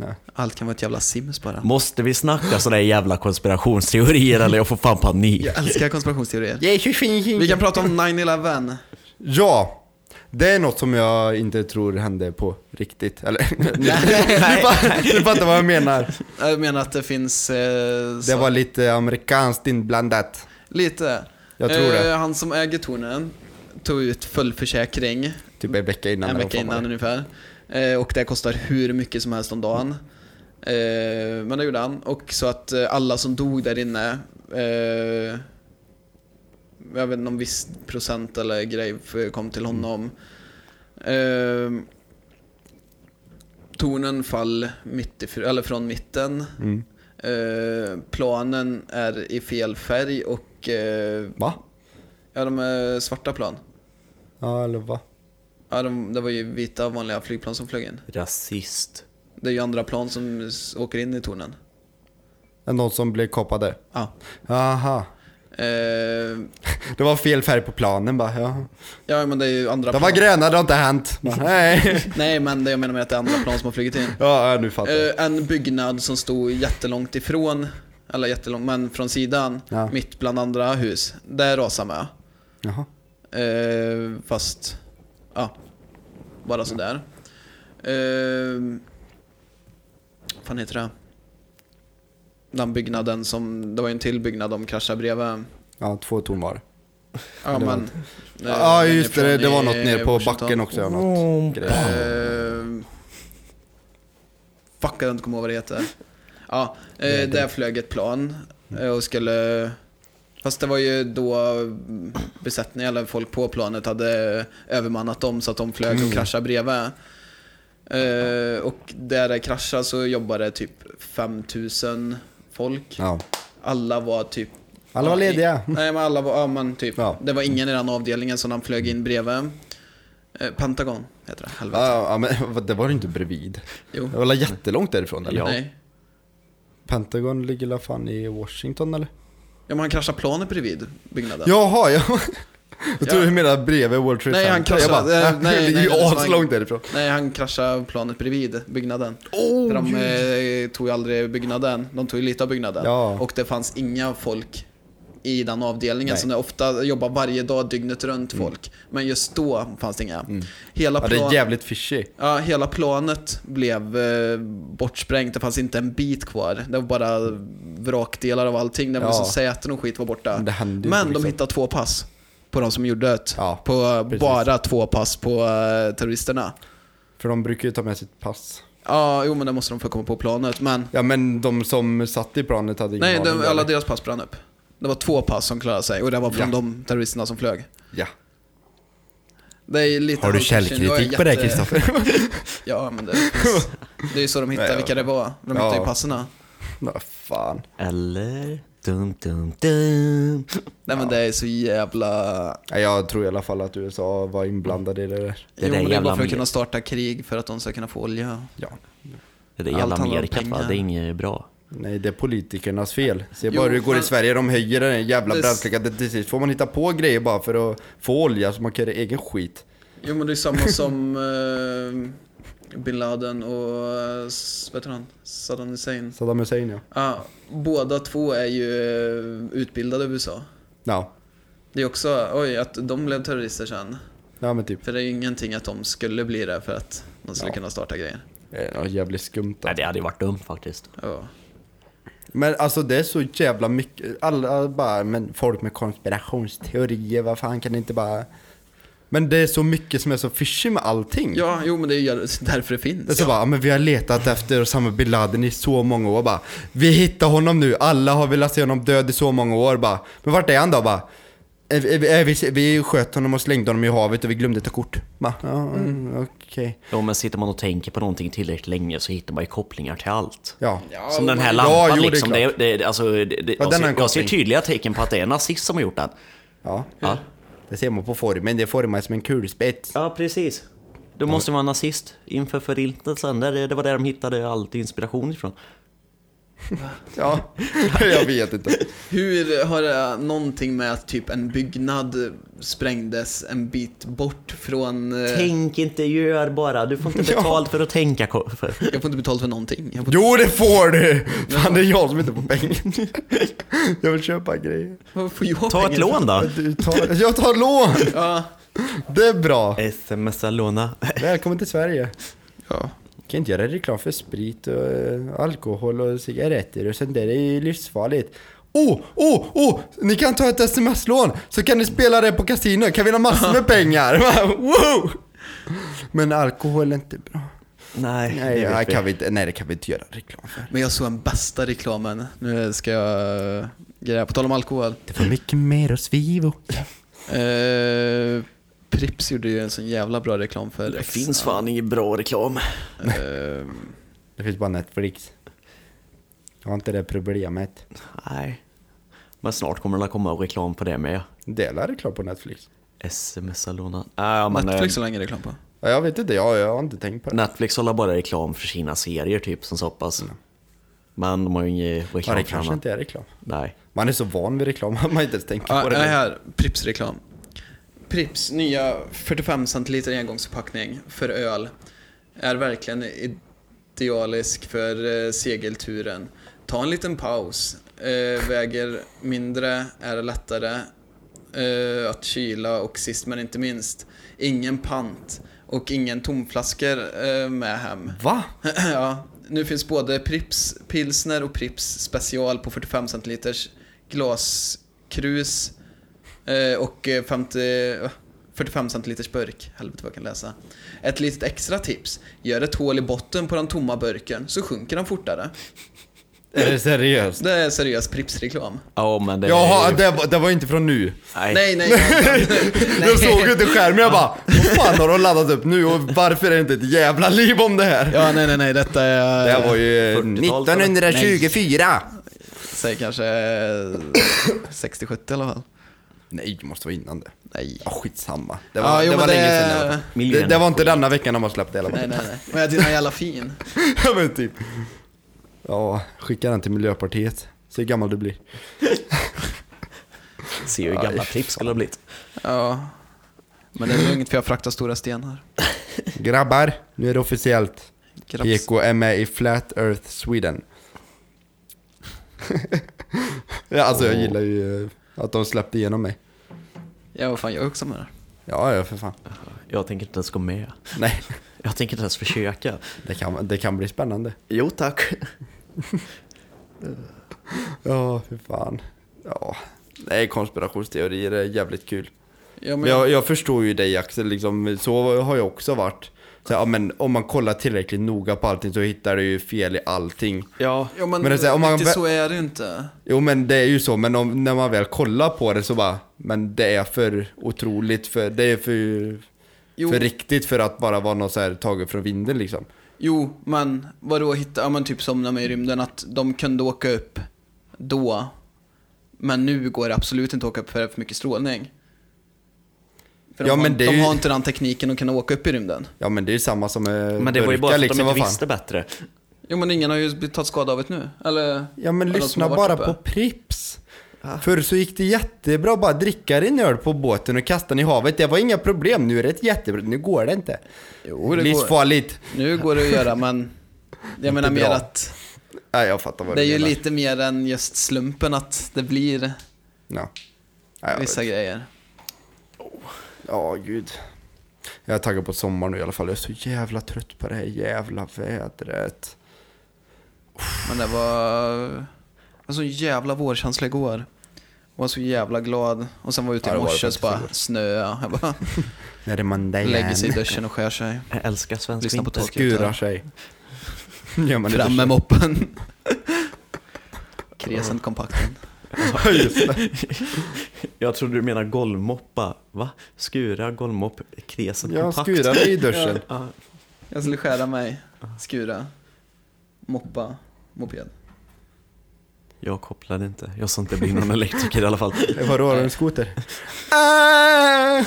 Speaker 1: Nej.
Speaker 2: Allt kan vara ett jävla sims bara.
Speaker 3: Måste vi snacka sådana jävla konspirationsteorier eller jag får fan panik?
Speaker 2: Jag älskar konspirationsteorier.
Speaker 1: Jesus,
Speaker 2: Vi kan prata om 9-11.
Speaker 1: Ja, det är något som jag inte tror hände på riktigt. Eller, ni, fattar- ni fattar vad jag menar.
Speaker 2: Jag menar att det finns... Eh,
Speaker 1: Det
Speaker 2: så-
Speaker 1: var lite amerikanskt inblandat.
Speaker 2: Lite. Eh,
Speaker 1: Jag tror det.
Speaker 2: Han som äger tornen tog ut fullförsäkring
Speaker 1: Typ en vecka innan.
Speaker 2: en
Speaker 1: eller
Speaker 2: vecka
Speaker 1: vad fan var
Speaker 2: innan ungefär. Eh, och det kostar hur mycket som helst om dagen. Eh, men det gjorde han. Och så att eh, alla som dog där inne, eh, jag vet inte om viss procent eller grej för- kom
Speaker 1: Mm.
Speaker 2: till honom. Eh, tornen fall mitt i, eller från mitten.
Speaker 1: Mm.
Speaker 2: Eh, planen är i fel färg och eh,
Speaker 1: Va?
Speaker 2: ja, de är svarta plan.
Speaker 1: Ja, eller va?
Speaker 2: Ja, de, det var ju vita vanliga flygplan som flög in.
Speaker 3: Rasist.
Speaker 2: Det är ju andra plan som s- åker in i tornen.
Speaker 1: Är Någon som blev kapade?
Speaker 2: Ja.
Speaker 1: Aha.
Speaker 2: Eh,
Speaker 1: Det var fel färg på planen bara. Ja.
Speaker 2: ja, men det är ju andra
Speaker 1: De var
Speaker 2: plan.
Speaker 1: gröna, det har inte hänt. Bara, Nej.
Speaker 2: Nej, men det jag menar med att det är andra plan som har flugit in.
Speaker 1: Ja, ja, nu fattar jag.
Speaker 2: Eh, en byggnad som stod jättelångt ifrån, eller jättelångt, men från sidan,
Speaker 1: Ja.
Speaker 2: mitt bland andra hus. Där rasar med.
Speaker 1: Jaha.
Speaker 2: Eh, fast, ja, bara sådär. Eh, vad fan heter det? Den byggnaden som, det var ju en till byggnad de kraschade bredvid.
Speaker 1: Ja, två ton
Speaker 2: Eh,
Speaker 1: var
Speaker 2: Ja, men, eh,
Speaker 1: Ja, ah, just det. Det var något nere på backen också. ja,
Speaker 2: Oh.
Speaker 1: Något.
Speaker 2: Uh, fuck, jag kan inte komma ihåg vad det heter. Ja, eh, där flög ett plan eh, och skulle... Fast det var ju då mm, besättningen, eller folk på planet, hade övermannat dem så att de flög
Speaker 1: Mm.
Speaker 2: och kraschade bredvid. Eh, och där det kraschade så jobbade typ 5000 folk.
Speaker 1: Ja.
Speaker 2: Alla var typ...
Speaker 1: Alla var lediga.
Speaker 2: Nej, men alla var... Ja, men typ.
Speaker 1: Ja.
Speaker 2: Det var ingen i den avdelningen som de flög in bredvid. Eh, Pentagon heter det. Helvete.
Speaker 1: Ja, ja, men vad- det var ju inte bredvid.
Speaker 2: Jo.
Speaker 1: Det var väl jättelångt därifrån eller?
Speaker 3: Ja.
Speaker 2: Nej.
Speaker 1: Pentagon ligger la fan i Washington eller?
Speaker 2: Ja, men han kraschade planet bredvid byggnaden.
Speaker 1: Jaha, ja. Jag tror
Speaker 2: Ja.
Speaker 1: du menade bredvid World Trade
Speaker 2: Nej,
Speaker 1: Center.
Speaker 2: han kraschade-
Speaker 1: Jag bara,
Speaker 2: eh,
Speaker 1: nej, nej, det
Speaker 2: nej,
Speaker 1: är
Speaker 2: nej,
Speaker 1: ju
Speaker 2: det var-
Speaker 1: aslångt därifrån.
Speaker 2: Nej, han kraschade planet bredvid byggnaden.
Speaker 1: Oh,
Speaker 2: För de eh, tog ju aldrig byggnaden, de tog ju lite av byggnaden.
Speaker 1: Ja.
Speaker 2: Och det fanns inga folk i den avdelningen
Speaker 1: Nej. Mm.
Speaker 2: som det ofta jobbar varje dag dygnet runt folk. Men just då fanns det inga. Hela,
Speaker 1: ja, det är
Speaker 2: plan...
Speaker 1: jävligt fishy.
Speaker 2: ja, hela planet blev eh, bortsprängt, det fanns inte en bit kvar. Det var bara vrakdelar av allting, det var
Speaker 1: Ja.
Speaker 2: som säten och skit var borta.
Speaker 1: Men det hände ju
Speaker 2: Men
Speaker 1: inte, liksom.
Speaker 2: de hittade två pass på de som gjorde det.
Speaker 1: Ja,
Speaker 2: på eh,
Speaker 1: precis.
Speaker 2: bara två pass på eh, terroristerna.
Speaker 1: För de brukar ju ta med sitt pass.
Speaker 2: Ja, jo men det måste de få komma på planet. Men
Speaker 1: Ja men de som satt i planet hade ingen
Speaker 2: nej,
Speaker 1: aning,
Speaker 2: de, alla
Speaker 1: eller?
Speaker 2: deras pass brann upp. Det var två pass som klarade sig och det var från
Speaker 1: Ja.
Speaker 2: de terroristerna som flög.
Speaker 1: Ja.
Speaker 2: Det är lite
Speaker 1: Har du
Speaker 2: halvkassin. Jag är
Speaker 1: källkritik på det
Speaker 2: jätte-
Speaker 1: Kristoffer?
Speaker 2: Ja, men det finns. Det är ju så de hittar
Speaker 1: Nej, ja.
Speaker 2: vilka det var. De
Speaker 1: Ja.
Speaker 2: hittar ju passerna.
Speaker 1: Nå fan.
Speaker 3: Eller? Dum, dum, dum.
Speaker 2: Nej men det är så jävla...
Speaker 1: Nej, Jag tror i alla fall att USA var inblandade i det där.
Speaker 3: Det
Speaker 2: jo, men
Speaker 3: där
Speaker 2: det är
Speaker 3: jävla
Speaker 2: bara för att
Speaker 3: med-
Speaker 2: kunna starta krig för att de ska kunna få olja.
Speaker 1: Ja.
Speaker 3: Det där
Speaker 2: Allt
Speaker 3: jävla
Speaker 2: handlar om
Speaker 3: Amerika, fan,
Speaker 2: pengar.
Speaker 3: det är inget bra.
Speaker 1: Nej, det är politikernas fel. Se
Speaker 2: Jo,
Speaker 1: bara hur det går i
Speaker 2: men-
Speaker 1: Sverige, de höjer den jävla
Speaker 2: Det-
Speaker 1: bränsleskatten till sist. Får man hitta på grejer bara för att få olja så man kan göra egen skit.
Speaker 2: Jo men det är samma som eh, bin Laden och, eh, s- vad heter han, Saddam Hussein.
Speaker 1: Saddam Hussein ja.
Speaker 2: Ja, båda två är ju eh, utbildade i USA.
Speaker 1: Ja,
Speaker 2: Det är också, oj, att de blev terrorister sen.
Speaker 1: ja men typ.
Speaker 2: För det är ju ingenting att de skulle bli det för att de skulle
Speaker 1: Ja.
Speaker 2: kunna starta grejer.
Speaker 1: Det är något Eh, jävligt skumt
Speaker 3: Nej,
Speaker 1: alltså.
Speaker 3: det hade ju varit dumt faktiskt.
Speaker 2: Ja.
Speaker 1: Men alltså det är så jävla mycket, alla bara, men folk med konspirationsteorier, vad fan kan det inte bara... Men det är så mycket som är så fishy med allting.
Speaker 2: ja, jo men det är ju därför det
Speaker 1: Det är
Speaker 2: finns.
Speaker 1: så bara, men vi har letat efter Osama bin Laden i så många år bara. Vi hittar honom nu, alla har velat se honom död i så många år bara. Men vart är han då bara? "Eh, Vi, eh, vi, vi sköt honom och slängde honom i havet och vi glömde ta kort. Bara, Ja, mm, okej.
Speaker 3: Ja, men sitter man och tänker på någonting tillräckligt länge så hittar man ju kopplingar till allt.
Speaker 1: Ja.
Speaker 3: Som den här
Speaker 1: Ja,
Speaker 3: lampan
Speaker 1: jo, det är
Speaker 3: liksom. Det,
Speaker 1: klart.
Speaker 3: det, det, alltså, det, det,
Speaker 1: Ja,
Speaker 3: jag,
Speaker 1: den har en
Speaker 3: ser, jag ser
Speaker 1: koppling.
Speaker 3: tydliga tecken på att det är en nazist som har gjort den.
Speaker 1: ja.
Speaker 3: Ja,
Speaker 1: Det ser man på formen, det är format som en kulspets.
Speaker 3: ja precis. Du måste vara nazist inför förintelsen. Det, det var där de hittade all inspiration ifrån.
Speaker 1: Ja, jag vet inte.
Speaker 2: Hur har det någonting med att typ en byggnad sprängdes en bit bort från... eh,
Speaker 3: Tänk inte, gör bara. Du får inte
Speaker 1: Ja.
Speaker 3: betalt för att tänka. ko- För.
Speaker 2: Jag får inte betalt för någonting. Jag får...
Speaker 1: Jo det får du! Fan det är jag som inte får pengar. Jag vill köpa grejer.
Speaker 2: Vad får jag
Speaker 3: Ta ett
Speaker 2: pengar för?
Speaker 3: lån då.
Speaker 1: Du tar, jag tar lån!
Speaker 2: Ja.
Speaker 1: Det är bra.
Speaker 3: Smsa låna.
Speaker 1: Välkommen till Sverige.
Speaker 2: ja.
Speaker 1: kan inte göra reklam för sprit och eh, alkohol och cigaretter och sånt där. Det är ju livsfarligt. Oh, oh, oh! Ni kan ta ett sms-lån så kan ni spela det på kasino. Kan vinna massor med pengar. wow! Men alkohol är inte bra.
Speaker 3: Nej,
Speaker 1: Nej,
Speaker 3: det
Speaker 1: ja,
Speaker 3: vet vi.
Speaker 1: kan vi inte, nej, det kan vi inte göra reklam för.
Speaker 2: Men jag såg den bästa reklamen. Nu ska jag eh, greja. På tal om alkohol.
Speaker 1: Det var mycket mer oss Vivo.
Speaker 2: Eh, Prips gjorde ju en sån jävla bra reklam för
Speaker 3: Det
Speaker 2: Rexha.
Speaker 3: finns fan ingen bra reklam.
Speaker 2: Eh,
Speaker 1: Det finns bara Netflix. Jag har inte det problemet.
Speaker 3: Nej. Men snart kommer det att komma reklam på det med.
Speaker 1: Delar reklam på Netflix?
Speaker 3: SMS-lådan. Ja, men, eh,
Speaker 2: Netflix
Speaker 3: Netflix.
Speaker 2: har länge reklam på.
Speaker 1: Ja, Jag vet inte, jag, jag har inte tänkt på det.
Speaker 3: Netflix håller bara reklam för sina serier typ som så pass. Men de har ju ingen reklam
Speaker 1: Mm. Ja, det
Speaker 3: för
Speaker 1: kanske
Speaker 3: annat.
Speaker 1: inte är reklam.
Speaker 3: Nej.
Speaker 1: Man är så van vid reklam att man inte ens tänker
Speaker 2: Ja,
Speaker 1: på
Speaker 2: nej,
Speaker 1: det.
Speaker 2: här. Prips-reklam. Prips nya 45 centiliter engångsförpackning för öl är verkligen idealisk för eh, segelturen. Ta en liten paus. Eh, väger mindre, är lättare eh, att kyla och sist men inte minst, ingen pant och ingen tomflaskor eh, med hem.
Speaker 1: Va?
Speaker 2: ja, nu finns både Prips pilsner och Prips special på 45 centiliters glaskrus eh, och eh, 50, eh, 45 centiliters burk. Helvete vad jag kan läsa. Ett litet extra tips. Gör ett hål i botten på den tomma burken så sjunker den fortare.
Speaker 1: Är det seriöst?
Speaker 2: Det är seriös Prips-reklam.
Speaker 3: Ja, men det är
Speaker 1: Jaha,
Speaker 3: ju...
Speaker 1: det, var- det var inte från nu.
Speaker 3: Nej.
Speaker 2: Nej, nej. nej.
Speaker 1: Jag såg inte skärmen, jag bara Vad fan har de laddat upp nu och varför är det inte ett jävla liv om det här?
Speaker 2: Ja, nej, nej, nej. Detta är...
Speaker 1: Det här var ju
Speaker 3: 40-talet, eller?
Speaker 1: 1924!
Speaker 2: Säg kanske eh, 60-70 i alla fall.
Speaker 1: Nej, det måste vara innan det.
Speaker 2: Nej.
Speaker 1: Ja, skitsamma. Det var,
Speaker 2: Ja, jo,
Speaker 1: det var
Speaker 2: men
Speaker 1: länge
Speaker 2: det-
Speaker 1: sedan i alla fall. det,
Speaker 3: Miljön-
Speaker 1: det var inte denna veckan de har släppt det i alla
Speaker 2: Nej,
Speaker 1: fall.
Speaker 2: nej, nej. Men jag tycker den är jävla fin.
Speaker 1: Ja, men typ. Ja, skicka den till Miljöpartiet. Se hur gammal du blir.
Speaker 3: Ser ju hur gamla tips skulle ha blivit.
Speaker 2: Ja. Men det är lugnt för jag fraktar stora stenar.
Speaker 1: Grabbar, nu är det officiellt.
Speaker 2: Graps.
Speaker 1: Eko är med i Flat Earth Sweden. ja, alltså jag gillar ju eh, att de släppte igenom mig.
Speaker 2: Ja, vad fan, jag är också med där.
Speaker 1: Ja, ja för fan.
Speaker 3: Jag tänker inte ens gå med.
Speaker 1: Nej,
Speaker 3: Jag tänker inte ens försöka.
Speaker 1: det kan, det kan bli spännande.
Speaker 3: Jo tack.
Speaker 1: Ja, för fan. Ja. Nej, konspirationsteorier är jävligt kul.
Speaker 2: Ja,
Speaker 1: Men jag, jag förstår ju dig Axel, liksom, så har jag också varit. Så, här, ja, men om man kollar tillräckligt noga på allting så hittar du ju fel i allting.
Speaker 3: Ja.
Speaker 2: ja, men,
Speaker 1: Men det är så här, om man-
Speaker 2: riktigt så är det ju inte.
Speaker 1: Jo men det är ju så, men om, när man väl kollar på det så bara, men det är för otroligt, för, det är för,
Speaker 2: Jo.
Speaker 1: för riktigt för att bara vara något så här taget från vinden liksom.
Speaker 2: Jo, men vadå hitta, ja men typ som när man är i rymden, att de kunde åka upp då. Men nu går det absolut inte att åka upp för det är för mycket strålning. För de,
Speaker 1: Ja,
Speaker 2: har,
Speaker 1: men det är
Speaker 2: de
Speaker 1: ju-
Speaker 2: har inte den tekniken att kunna åka upp i rymden.
Speaker 1: Ja men det är ju samma som med
Speaker 3: Men det var ju bara för att
Speaker 1: liksom,
Speaker 3: de
Speaker 1: vad
Speaker 3: inte
Speaker 1: fan.
Speaker 3: visste bättre.
Speaker 2: Jo, men ingen har ju blivit- tagit skada av det nu. Eller?
Speaker 1: Ja men
Speaker 2: eller de som
Speaker 1: lyssna
Speaker 2: har varit
Speaker 1: bara
Speaker 2: uppe.
Speaker 1: på Prips. Förr så gick det jättebra bara dricka din öl på båten och kasta den i havet. Det var inga problem. Nu är det ett jättebra... Nu går det inte.
Speaker 2: Jo, det går.
Speaker 1: Livsfarligt.
Speaker 2: Nu går det att göra, men jag menar mer
Speaker 1: bra.
Speaker 2: att
Speaker 1: Nej, jag fattar vad
Speaker 2: det är
Speaker 1: du
Speaker 2: ju
Speaker 1: menar.
Speaker 2: lite mer än just slumpen att det blir
Speaker 1: Ja. Ja, jag
Speaker 2: vissa
Speaker 1: vet.
Speaker 2: grejer.
Speaker 1: Ja, gud. Jag är taggad på sommaren nu i alla fall. Jag är så jävla trött på det här jävla vädret.
Speaker 2: Men det var, det var så jävla vårkänsla igår. Jag var så jävla glad. Och sen var jag ute
Speaker 1: Ja,
Speaker 2: i
Speaker 1: det var det
Speaker 2: morse och så
Speaker 1: faktiskt
Speaker 2: bara snöa. Jag bara
Speaker 1: När det är måndag
Speaker 2: lägger sig i
Speaker 1: igen.
Speaker 2: duschen och skär sig.
Speaker 3: Jag älskar svensk
Speaker 2: Lyssna på
Speaker 3: vinter.
Speaker 2: Tolkien.
Speaker 1: Skurar sig. Gör man
Speaker 2: Fram
Speaker 1: det?
Speaker 2: med moppen. Kresent kompakten.
Speaker 1: Ja, just det.
Speaker 3: Jag trodde du menar golvmoppa. Va? Skura, golvmopp, kresen,
Speaker 1: Jag
Speaker 3: kompakt.
Speaker 1: skurar mig i duschen.
Speaker 3: Ja.
Speaker 2: Jag skulle skära mig, skura, moppa, moped.
Speaker 3: Jag kopplade inte. Jag sa inte det blir någon elektriker i alla fall.
Speaker 1: Vadå, har du
Speaker 2: Eh.
Speaker 1: en skoter? Ah!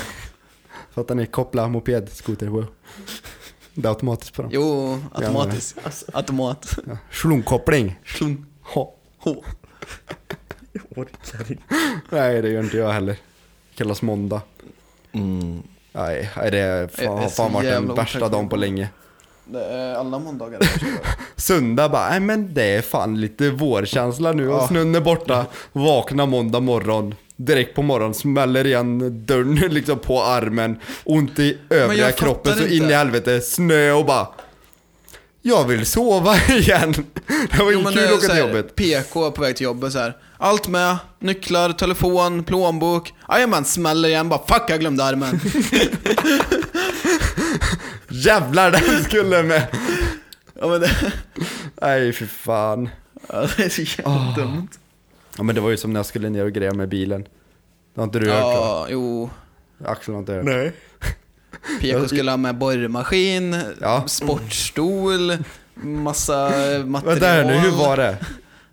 Speaker 1: Fattar ni? Koppla moped, skoter, wow. Det är automatiskt på dem.
Speaker 2: Jo, automatiskt. Alltså, Automat.
Speaker 1: Ja. Slungkoppling.
Speaker 2: Klung.
Speaker 1: Ha.
Speaker 2: Hå.
Speaker 3: Jag orkar inte.
Speaker 1: Nej, det gör inte jag heller. Kallas måndag.
Speaker 3: Mm.
Speaker 1: Nej, nej, det är fan,
Speaker 2: Jag är
Speaker 1: har fan
Speaker 2: så
Speaker 1: varit den
Speaker 2: jävla
Speaker 1: värsta
Speaker 2: otacksam.
Speaker 1: dagen på länge.
Speaker 2: Det är alla måndagar.
Speaker 1: Söndag bara, nej men det är fan lite vårkänsla nu och snön är borta. Vakna måndag morgon. Direkt på morgonen smäller igen dörren liksom på armen. Ont i övriga
Speaker 2: jag fattar
Speaker 1: kroppen så
Speaker 2: inte.
Speaker 1: in i helvete. Snö och bara. Jag vill sova igen. Det var
Speaker 2: Jo,
Speaker 1: ju
Speaker 2: men
Speaker 1: kul
Speaker 2: det
Speaker 1: att
Speaker 2: är
Speaker 1: åka
Speaker 2: så
Speaker 1: till
Speaker 2: här,
Speaker 1: jobbet.
Speaker 2: PK på väg till jobbet så här. Allt med, nycklar, telefon, plånbok. Jajamän, smäller igen bara fuck jag glömde armen.
Speaker 1: Jävlar den skulle med.
Speaker 2: Ja, men det,
Speaker 1: Nej fy fan.
Speaker 2: ja, det är så
Speaker 1: Ah,
Speaker 2: jävla dumt.
Speaker 1: Ja men det var ju som när jag skulle ner och greja med bilen. Det har inte du hört va?
Speaker 2: Ja, jo.
Speaker 1: Axel har inte hört.
Speaker 3: Nej.
Speaker 2: PK skulle ha med borrmaskin,
Speaker 1: Ja.
Speaker 2: sportstol, massa material.
Speaker 1: Vänta här nu, hur var det?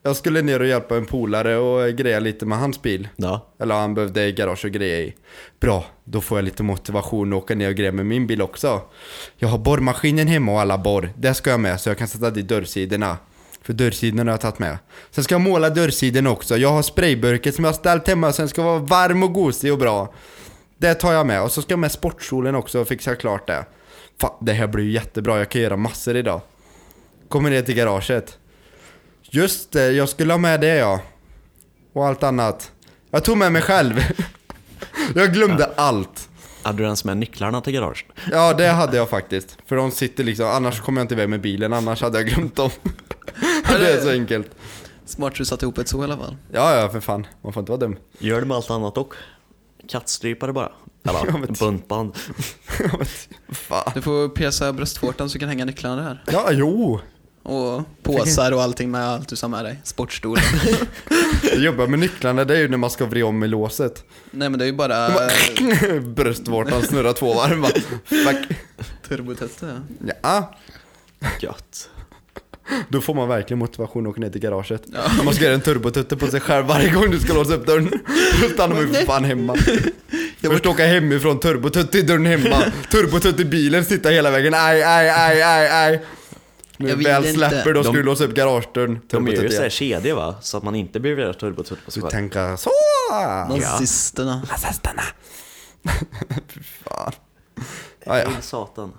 Speaker 1: Jag skulle ner och hjälpa en polare och greja lite med hans bil.
Speaker 3: Ja.
Speaker 1: Eller han behövde garage och grejer i. Bra, då får jag lite motivation att åka ner och greja med min bil också. Jag har borrmaskinen hemma och alla borr. Det ska jag med så jag kan sätta dit dörrsidorna. För dörrsidorna har jag tagit med. Sen ska jag måla dörrsidorna också. Jag har sprayburken som jag har ställt hemma så den ska vara varm och gosig och bra. Det tar jag med. Och så ska jag med sportstolen också och fixa klart det. Fan, det här blir ju jättebra. Jag kan göra massor idag. Kommer ner till garaget. Just det, jag skulle ha med det ja. Och allt annat. Jag tog med mig själv. Jag glömde allt.
Speaker 3: Hade du ens med nycklarna till garaget?
Speaker 1: Ja, det hade jag faktiskt. För de sitter liksom, annars kommer jag inte iväg med bilen, annars hade jag glömt dem. Det är så enkelt.
Speaker 2: Smart du satte ihop ett så i alla fall.
Speaker 1: Ja, ja, för fan. Man får inte vara dum.
Speaker 3: Gör det med allt annat också. Kattstrypare bara. Eller
Speaker 1: Ja, men- typ.
Speaker 3: buntband.
Speaker 1: Fan.
Speaker 2: Du får pierca bröstvårtan så du kan hänga nycklarna där.
Speaker 1: Ja, jo.
Speaker 2: Och påsar och allting med allt du sa med dig. Sportstolen.
Speaker 1: Jag jobbar med nycklarna, det är ju när man ska vrida om i låset.
Speaker 2: Nej men det är ju bara
Speaker 1: Bröstvårtan snurrar två varv bara. Fuck.
Speaker 2: turbotestet.
Speaker 1: Ja,
Speaker 3: Gött.
Speaker 1: då får man verkligen motivation att åka ner till garaget.
Speaker 2: Ja.
Speaker 1: Man ska göra en turbotutte på sig själv varje gång du ska låsa upp dörren. Då stannar man ju för fan hemma. Först åka hemifrån, turbotutt i dörren hemma, turbotutt i bilen, sitta hela vägen, aj, aj, aj, aj, aj. När
Speaker 2: Jag
Speaker 1: du
Speaker 2: vill
Speaker 1: väl
Speaker 2: inte.
Speaker 1: släpper då ska
Speaker 3: De-
Speaker 1: du låsa upp garagedörren.
Speaker 3: De är ju
Speaker 1: turbotutt
Speaker 3: så här
Speaker 1: igen.
Speaker 3: kedjor va? Så att man inte blir vidare turbotutt på sig
Speaker 1: Du
Speaker 3: själv.
Speaker 1: tänker så!
Speaker 2: Nazisterna.
Speaker 1: Nazisterna! Fy fan. Ah, Ja, ja.
Speaker 3: Till Satan.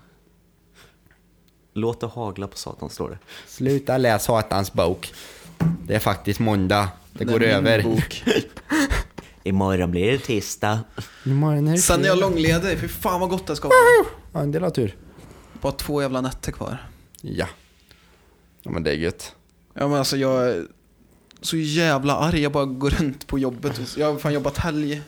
Speaker 3: Låt det hagla på Satan står det.
Speaker 1: Sluta läs Satans bok. Det är faktiskt måndag. Det går
Speaker 2: Det är min
Speaker 1: över.
Speaker 2: bok.
Speaker 3: Imorgon blir det tisdag.
Speaker 1: Imorgon är det
Speaker 2: Sen är jag långledig. Fy fan vad gott det ska vara.
Speaker 1: Ja, en del har tur.
Speaker 2: Bara två jävla nätter kvar.
Speaker 1: Ja. Ja men det är gött.
Speaker 2: Ja men alltså jag är så jävla arg, jag bara går runt på jobbet. Jag har fan jobbat helg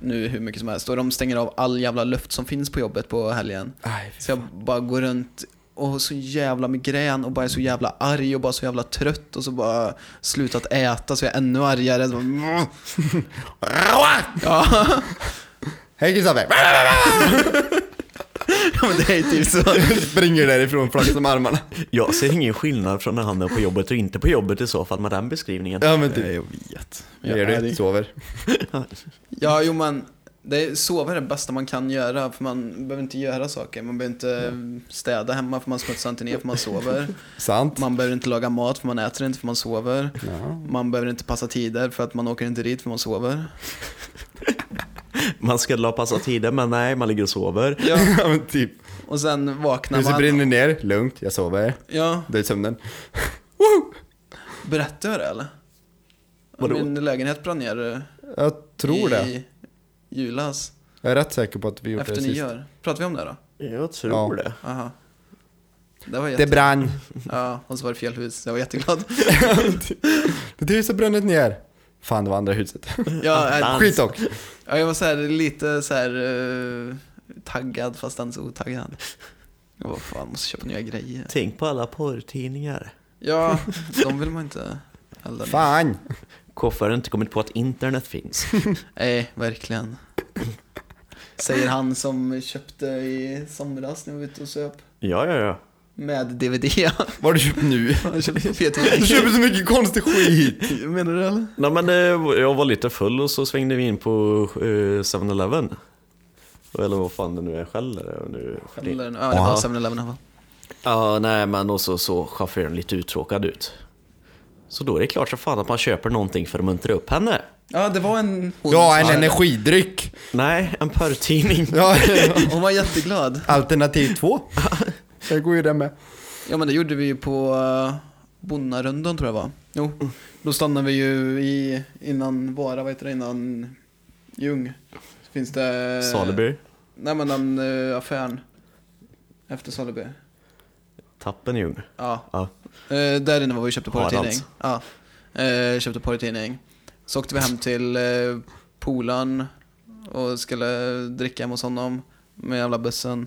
Speaker 2: nu hur mycket som helst och de stänger av all jävla luft som finns på jobbet på helgen.
Speaker 1: Aj,
Speaker 2: Så jag bara går runt och har så jävla migrän och bara är så jävla arg och bara så jävla trött och så bara slutat äta så jag är ännu argare. Så bara, ja,
Speaker 1: Hej Kristoffer!
Speaker 2: men det är typ så.
Speaker 1: Springer därifrån, flaxar med armarna.
Speaker 3: Jag ser ingen skillnad från när han är på jobbet och inte på jobbet i så fall med den beskrivningen.
Speaker 1: Ja men typ.
Speaker 2: Jag vet.
Speaker 1: Vad gör du? Sover.
Speaker 2: Ja, jo men det är, sova är det bästa man kan göra för man behöver inte göra saker. Man behöver inte
Speaker 1: Mm.
Speaker 2: städa hemma för man smutsar inte ner för man sover.
Speaker 1: Sant.
Speaker 2: Man behöver inte laga mat för man äter inte för man sover.
Speaker 1: Ja.
Speaker 2: Man behöver inte passa tider för att man åker inte dit för man sover.
Speaker 3: Man ska la passa tiden men nej, man ligger och sover.
Speaker 2: Ja,
Speaker 1: ja men typ.
Speaker 2: och sen vaknar
Speaker 1: Huset brinner
Speaker 2: man.
Speaker 1: ner, lugnt, jag sover.
Speaker 2: Ja,
Speaker 1: Det är sömnen.
Speaker 2: berättade jag det eller?
Speaker 3: Vadå?
Speaker 2: Min lägenhet brann ner
Speaker 1: Jag tror
Speaker 2: i
Speaker 1: det.
Speaker 2: julas,
Speaker 1: Jag är rätt säker på att vi gjort
Speaker 2: efter
Speaker 1: det sist.
Speaker 2: nyår. Pratar vi om det då?
Speaker 3: Jag tror
Speaker 1: Ja.
Speaker 3: det.
Speaker 2: Aha. Det var
Speaker 1: Det
Speaker 2: jätte...
Speaker 1: brann.
Speaker 2: Ja, och så var det fel hus. Jag var jätteglad.
Speaker 1: Det huset brännet ner. Fan, det var andra huset.
Speaker 2: Ja, eh,
Speaker 1: Skit dock.
Speaker 2: Ja, jag var så här, lite så här eh, taggad fast ändå så otaggad. Jag bara, fan, måste köpa nya grejer.
Speaker 3: Tänk på alla porrtidningar.
Speaker 2: Ja, de vill man inte elda ner.
Speaker 1: Fan.
Speaker 3: Koffe har inte kommit på att internet finns.
Speaker 2: Nej, verkligen. Säger han som köpte i somras när vi var ute och söp.
Speaker 3: Ja, ja, ja.
Speaker 2: Med DVD.
Speaker 1: Vad har du köpt nu?
Speaker 2: Han köpte
Speaker 1: Du
Speaker 2: DVD.
Speaker 1: köper så mycket konstig skit.
Speaker 2: Menar du eller?
Speaker 3: Nej, men eh, jag var lite full och så svängde vi in på eh, 7-Eleven. Eller vad fan det nu är, Shell är det nu för tiden.
Speaker 2: Eller, ja, det var 7-Eleven i alla fall.
Speaker 3: Ja, nej men och så såg chauffören lite uttråkad ut. Så då är det klart så fan att man köper någonting för att muntra upp henne.
Speaker 2: Ja, det var en hon.
Speaker 1: Du har en
Speaker 2: som-
Speaker 1: energidryck.
Speaker 3: Nej, en porrtidning.
Speaker 1: Ja,
Speaker 2: Hon var jätteglad.
Speaker 1: alternativ två. Det går ju det med.
Speaker 2: Ja men det gjorde vi ju på eh, Bonnarundan tror jag va? Jo, då stannade vi ju i, innan Vara, vad heter det, innan Ljung. Finns det...
Speaker 3: Saliby,
Speaker 2: Nej men den eh, affären. Efter Saliby.
Speaker 3: tappen Ljung.
Speaker 2: Ja.
Speaker 3: Ja.
Speaker 2: Eh, där inne var vi och köpte
Speaker 3: Haralds.
Speaker 2: porrtidning. Ja. Eh, köpte porrtidning. Så åkte vi hem till eh, polaren och skulle dricka hemma hos honom med jävla bussen.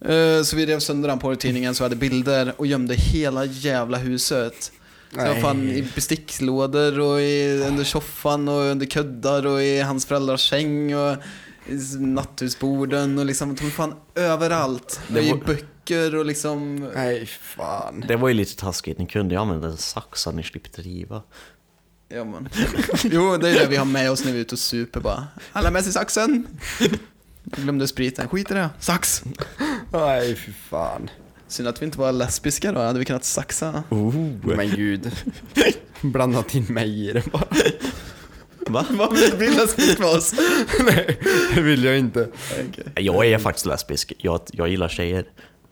Speaker 2: Eh, Så vi rev sönder den på i tidningen så jag hade bilder och gömde hela jävla huset. Så jag
Speaker 1: Nej.
Speaker 2: fann i besticklådor och i, under soffan och under kuddar och i hans föräldrars säng och i s- natthusborden och liksom, tog fan överallt.
Speaker 3: Det
Speaker 2: Och i
Speaker 3: var-
Speaker 2: böcker och liksom.
Speaker 1: Nej, fan.
Speaker 3: Det var ju lite taskigt, ni kunde ju använda en sax hade ni slippt riva.
Speaker 2: Ja, men. Jo, det är det vi har med oss när vi är ute och super bara. Alla med sig saxen! Jag glömde spriten, skit i det. Sax!
Speaker 1: Nej, fy fan.
Speaker 2: Synd att vi inte var lesbiska då, hade vi kunnat saxa.
Speaker 1: Oh. Men gud. Blandat in mig i det bara.
Speaker 3: Va?
Speaker 2: Vad vill bli lesbisk med oss?
Speaker 1: Nej, det vill jag inte.
Speaker 3: Jag är faktiskt lesbisk, jag, jag gillar tjejer.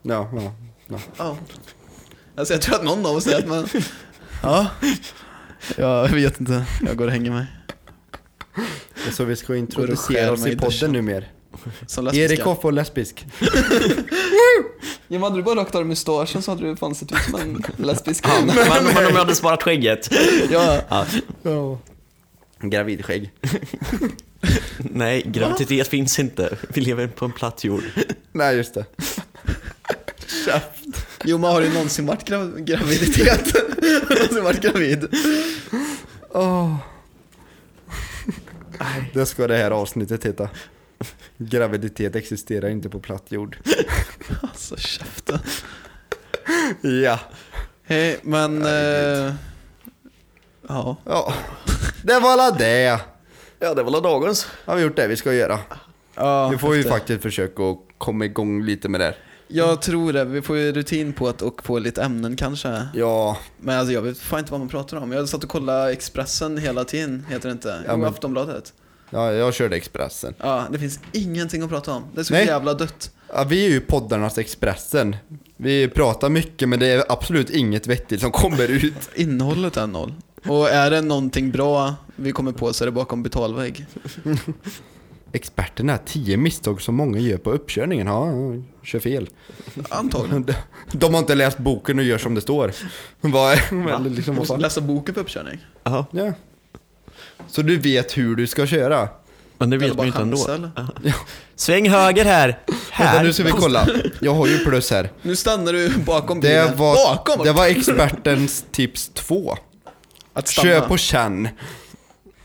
Speaker 1: Ja, ja. ja.
Speaker 2: Ja. Alltså jag tror att någon av oss är att man... Ja. Jag vet inte. Jag går och hänger mig.
Speaker 1: Det är så vi ska
Speaker 2: skär
Speaker 1: introducera oss
Speaker 2: mig i
Speaker 1: i podden
Speaker 2: duschen.
Speaker 1: numera.
Speaker 2: Som
Speaker 1: Erik Hoff och lesbisk.
Speaker 2: Ja, men hade du bara rakt av mustaschen så hade du fan sett ut som en lesbisk.
Speaker 3: Men, men om jag hade sparat skägget?
Speaker 2: ja.
Speaker 3: Ja,
Speaker 1: Ja. Gravidskägg.
Speaker 3: nej, graviditet finns inte. Vi lever på en platt jord.
Speaker 1: Nej, just det.
Speaker 2: Jo, men har du någonsin varit grav- graviditet? Har du någonsin varit gravid?
Speaker 1: Åh. Det ska det här avsnittet heta. Graviditet existerar inte på platt jord.
Speaker 2: Alltså käften.
Speaker 1: Ja.
Speaker 2: Hej, men... Eh, ja.
Speaker 1: ja. Det var alla det.
Speaker 3: Ja, det var väl dagens.
Speaker 1: Har vi gjort det vi ska göra.
Speaker 2: ja.
Speaker 1: Nu får vi
Speaker 2: efter.
Speaker 1: faktiskt försöka att komma igång lite med det här.
Speaker 2: Jag tror det. Vi får ju rutin på att och få lite ämnen kanske.
Speaker 1: Ja,
Speaker 2: Men alltså jag vet fan inte vad man pratar om. Jag satt och kollade Expressen hela tiden, heter det inte?
Speaker 1: Ja,
Speaker 2: Jo,
Speaker 1: men-
Speaker 2: Aftonbladet.
Speaker 1: ja jag körde Expressen.
Speaker 2: Ja, det finns ingenting att prata om. Det är så
Speaker 1: Nej.
Speaker 2: jävla dött.
Speaker 1: Ja, vi är ju poddarnas Expressen. Vi pratar mycket men det är absolut inget vettigt som kommer ut.
Speaker 2: Innehållet är noll. Och är det någonting bra vi kommer på så är det bakom betalvägg.
Speaker 1: Experterna, 10 misstag som många gör på uppkörningen. Ja, ja, kör fel.
Speaker 2: Antagligen.
Speaker 1: De- De har inte läst boken och gör som det står. Vad är, eller liksom, vad
Speaker 2: Måste
Speaker 1: fan?
Speaker 2: läsa boken på uppkörning.
Speaker 3: Ja,
Speaker 1: Ja. Så du vet hur du ska köra?
Speaker 3: men det
Speaker 2: Eller
Speaker 3: vet man
Speaker 2: bara
Speaker 3: ju inte ändå.
Speaker 2: chansa, eller?
Speaker 3: Sväng höger här!
Speaker 1: Vänta,
Speaker 3: Här!
Speaker 1: nu ska vi kolla. Jag har ju plus här.
Speaker 2: Nu stannar du bakom
Speaker 1: Det
Speaker 2: bilen.
Speaker 1: var,
Speaker 2: bakom!
Speaker 1: det var expertens tips två.
Speaker 2: Att stanna.
Speaker 1: Kör på känn.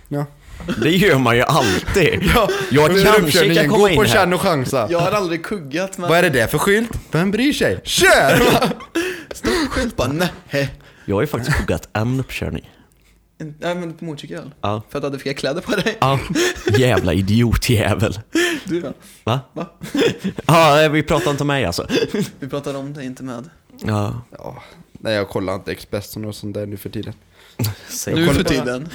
Speaker 1: Ja.
Speaker 3: Det gör man ju alltid. jag
Speaker 1: Under
Speaker 3: kanske
Speaker 1: uppkörningen,
Speaker 3: kan komma in
Speaker 1: Gå på känn
Speaker 3: här.
Speaker 1: och chansa.
Speaker 2: Jag har aldrig kuggat men
Speaker 1: Vad är det där för skylt? Vem bryr sig? Kör!
Speaker 2: skylt bara nej.
Speaker 3: Jag har ju faktiskt kuggat en uppkörning.
Speaker 2: Nej men på motorcykel.
Speaker 3: Ja.
Speaker 2: För att du hade fel kläder på dig.
Speaker 3: Ja, jävla idiotjävel.
Speaker 2: Du då?
Speaker 3: Va?
Speaker 2: Va?
Speaker 3: Ja, vi pratar inte om mig alltså.
Speaker 2: Vi pratar om det, inte med.
Speaker 3: Ja,
Speaker 1: Ja, nej, jag kollar inte Expressen och sånt där nu för tiden.
Speaker 3: säg.
Speaker 2: Nu
Speaker 1: kollar
Speaker 2: för
Speaker 1: på-
Speaker 2: tiden.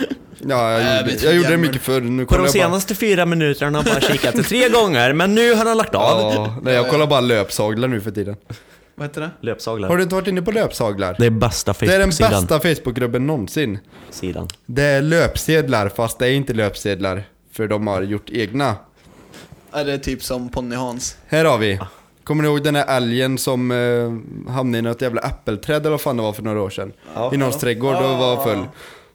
Speaker 1: Ja,
Speaker 2: Äh,
Speaker 1: jag,
Speaker 2: vi
Speaker 1: gjorde,
Speaker 2: tror
Speaker 1: jag gjorde det
Speaker 2: jämmer.
Speaker 1: mycket förr. Nu
Speaker 3: På
Speaker 1: kollar
Speaker 3: de
Speaker 1: jag bara...
Speaker 3: senaste fyra minuterna har han bara kikat tre gånger, men nu har han lagt av.
Speaker 1: Ja, nej, jag kollar bara löpsaglar nu för tiden.
Speaker 2: Vad heter det?
Speaker 1: Har
Speaker 3: Löpsaglar.
Speaker 1: du inte varit inne på löpsaglar?
Speaker 3: Det är bästa
Speaker 1: Det är den
Speaker 3: Facebook-sidan.
Speaker 1: bästa Facebookgruppen någonsin.
Speaker 3: Sidan.
Speaker 1: Det är löpsedlar, fast det är inte löpsedlar. För de har gjort egna.
Speaker 2: Är det typ som Ponny Hans?
Speaker 1: Här har vi. Kommer ni ihåg den här älgen som eh, hamnade i något jävla äppelträd eller vad fan det var för några år sedan? I någons trädgård och var full.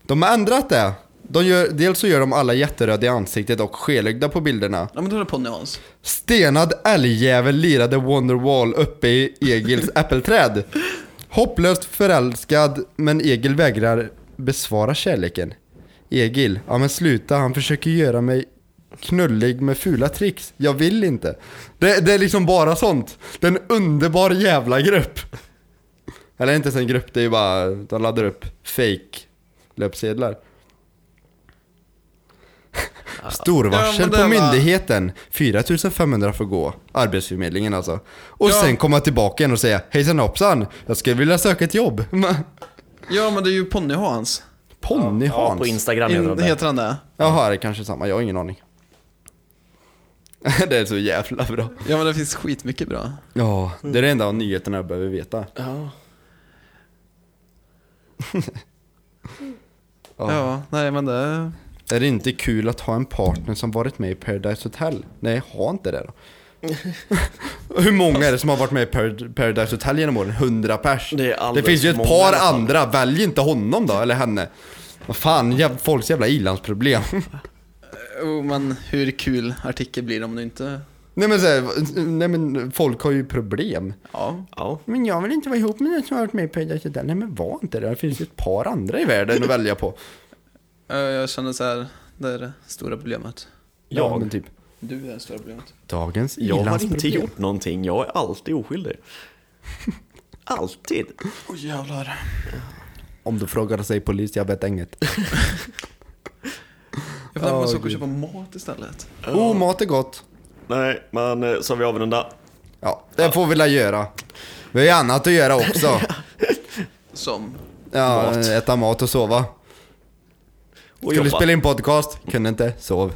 Speaker 1: De har ändrat det. De gör, dels så gör de alla jätteröda i ansiktet och skelögda på bilderna.
Speaker 2: Ja men då är det Ponny Hans.
Speaker 1: Stenad älgjävel lirade Wonderwall uppe i Egils äppelträd. Hopplöst förälskad, men Egil vägrar besvara kärleken. Egil, ja men sluta, han försöker göra mig knullig med fula tricks. Jag vill inte. Det, det är liksom bara sånt. Det är en underbar jävla grupp. Eller inte ens en grupp, det är ju bara, de laddar upp fake löpsedlar.
Speaker 2: Ja,
Speaker 1: Storvarsel
Speaker 2: men det
Speaker 1: på
Speaker 2: var-
Speaker 1: myndigheten. 4500 får gå. Arbetsförmedlingen alltså. Och
Speaker 2: Ja.
Speaker 1: sen komma tillbaka igen och säga hejsan hoppsan, jag skulle vilja söka ett jobb.
Speaker 2: Ja men det är ju Ponny Hans.
Speaker 1: Ponny
Speaker 3: Ja,
Speaker 1: Hans.
Speaker 3: på Instagram heter
Speaker 2: In,
Speaker 3: de det.
Speaker 2: heter han det?
Speaker 1: Jaha, det är kanske samma. Jag har ingen aning. det är så jävla bra.
Speaker 2: Ja men det finns skitmycket bra.
Speaker 1: Ja, det är det enda av nyheterna jag behöver veta.
Speaker 3: Ja.
Speaker 1: Ja.
Speaker 2: Ja, nej men det...
Speaker 1: Är det inte kul att ha en partner som varit med i Paradise Hotel? Nej, ha inte det då. Hur många är det som har varit med i Par- Paradise Hotel genom åren? 100 pers?
Speaker 3: Det är alldeles
Speaker 1: finns ju ett
Speaker 3: många
Speaker 1: par
Speaker 3: i alla fall.
Speaker 1: andra, välj inte honom då, eller henne. Vad fan, jäv, folks jävla ilandsproblem.
Speaker 2: Jo men hur kul artikel blir det om du inte
Speaker 1: Nej men, så här, nej men folk har ju problem.
Speaker 2: Ja.
Speaker 3: Ja.
Speaker 1: Men jag vill inte vara ihop med någon som har varit med i Paradise Hotel. Nej men var inte det, det finns ju ett par andra i världen att välja på.
Speaker 2: Eh, Jag känner så här, det är det stora problemet.
Speaker 1: Ja,
Speaker 3: Jag?
Speaker 1: men typ.
Speaker 2: Du är det stora problemet.
Speaker 1: Dagens
Speaker 3: Jag har inte
Speaker 1: i-landsproblem.
Speaker 3: gjort någonting, jag är alltid oskyldig. Alltid.
Speaker 2: Åh jävlar.
Speaker 1: Om du frågar sig polis, jag vet inget.
Speaker 2: Jag funderar på om jag ska gå och
Speaker 1: Åh,
Speaker 2: köpa mat istället.
Speaker 1: Oh, mat är gott.
Speaker 3: Nej, men eh, så vi avrunda.
Speaker 1: Ja, det får vi väl göra. Vi har ju annat att göra också.
Speaker 2: Som.
Speaker 1: Ja,
Speaker 3: Mat.
Speaker 1: äta mat och sova.
Speaker 3: Och
Speaker 1: Skulle
Speaker 3: jobba.
Speaker 1: spela in podcast, kunde inte, sov.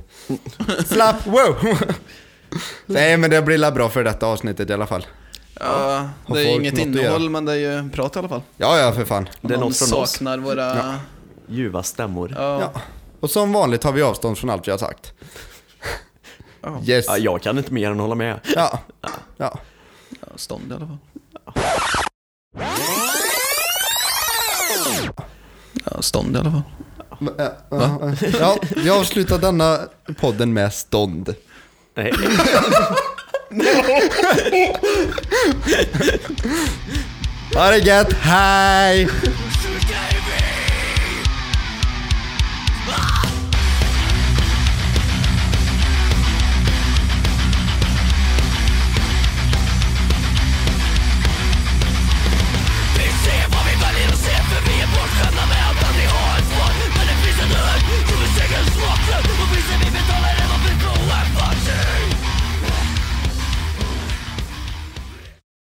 Speaker 1: Slapp, wow! Nej men det blir la bra för detta avsnittet i alla fall.
Speaker 2: Ja,
Speaker 1: Har
Speaker 2: det är
Speaker 1: folk
Speaker 2: inget
Speaker 1: något att göra?
Speaker 2: innehåll men det är ju prat i alla fall.
Speaker 1: Ja, ja för fan.
Speaker 3: Det är
Speaker 2: Man
Speaker 3: något från oss.
Speaker 2: saknar våra... Ja.
Speaker 3: Ljuva stämmor.
Speaker 1: Ja. Och som vanligt har vi avstånd från allt vi har sagt.
Speaker 2: Ja.
Speaker 1: Yes.
Speaker 3: Ja, jag kan inte mer än hålla med.
Speaker 1: Ja. ja.
Speaker 2: ja, stånd i alla fall. Ja, stånd i alla fall.
Speaker 1: Ja, ja, ja. Vi avslutar denna podden med stånd.
Speaker 3: Nej.
Speaker 1: Ha det gött, hej!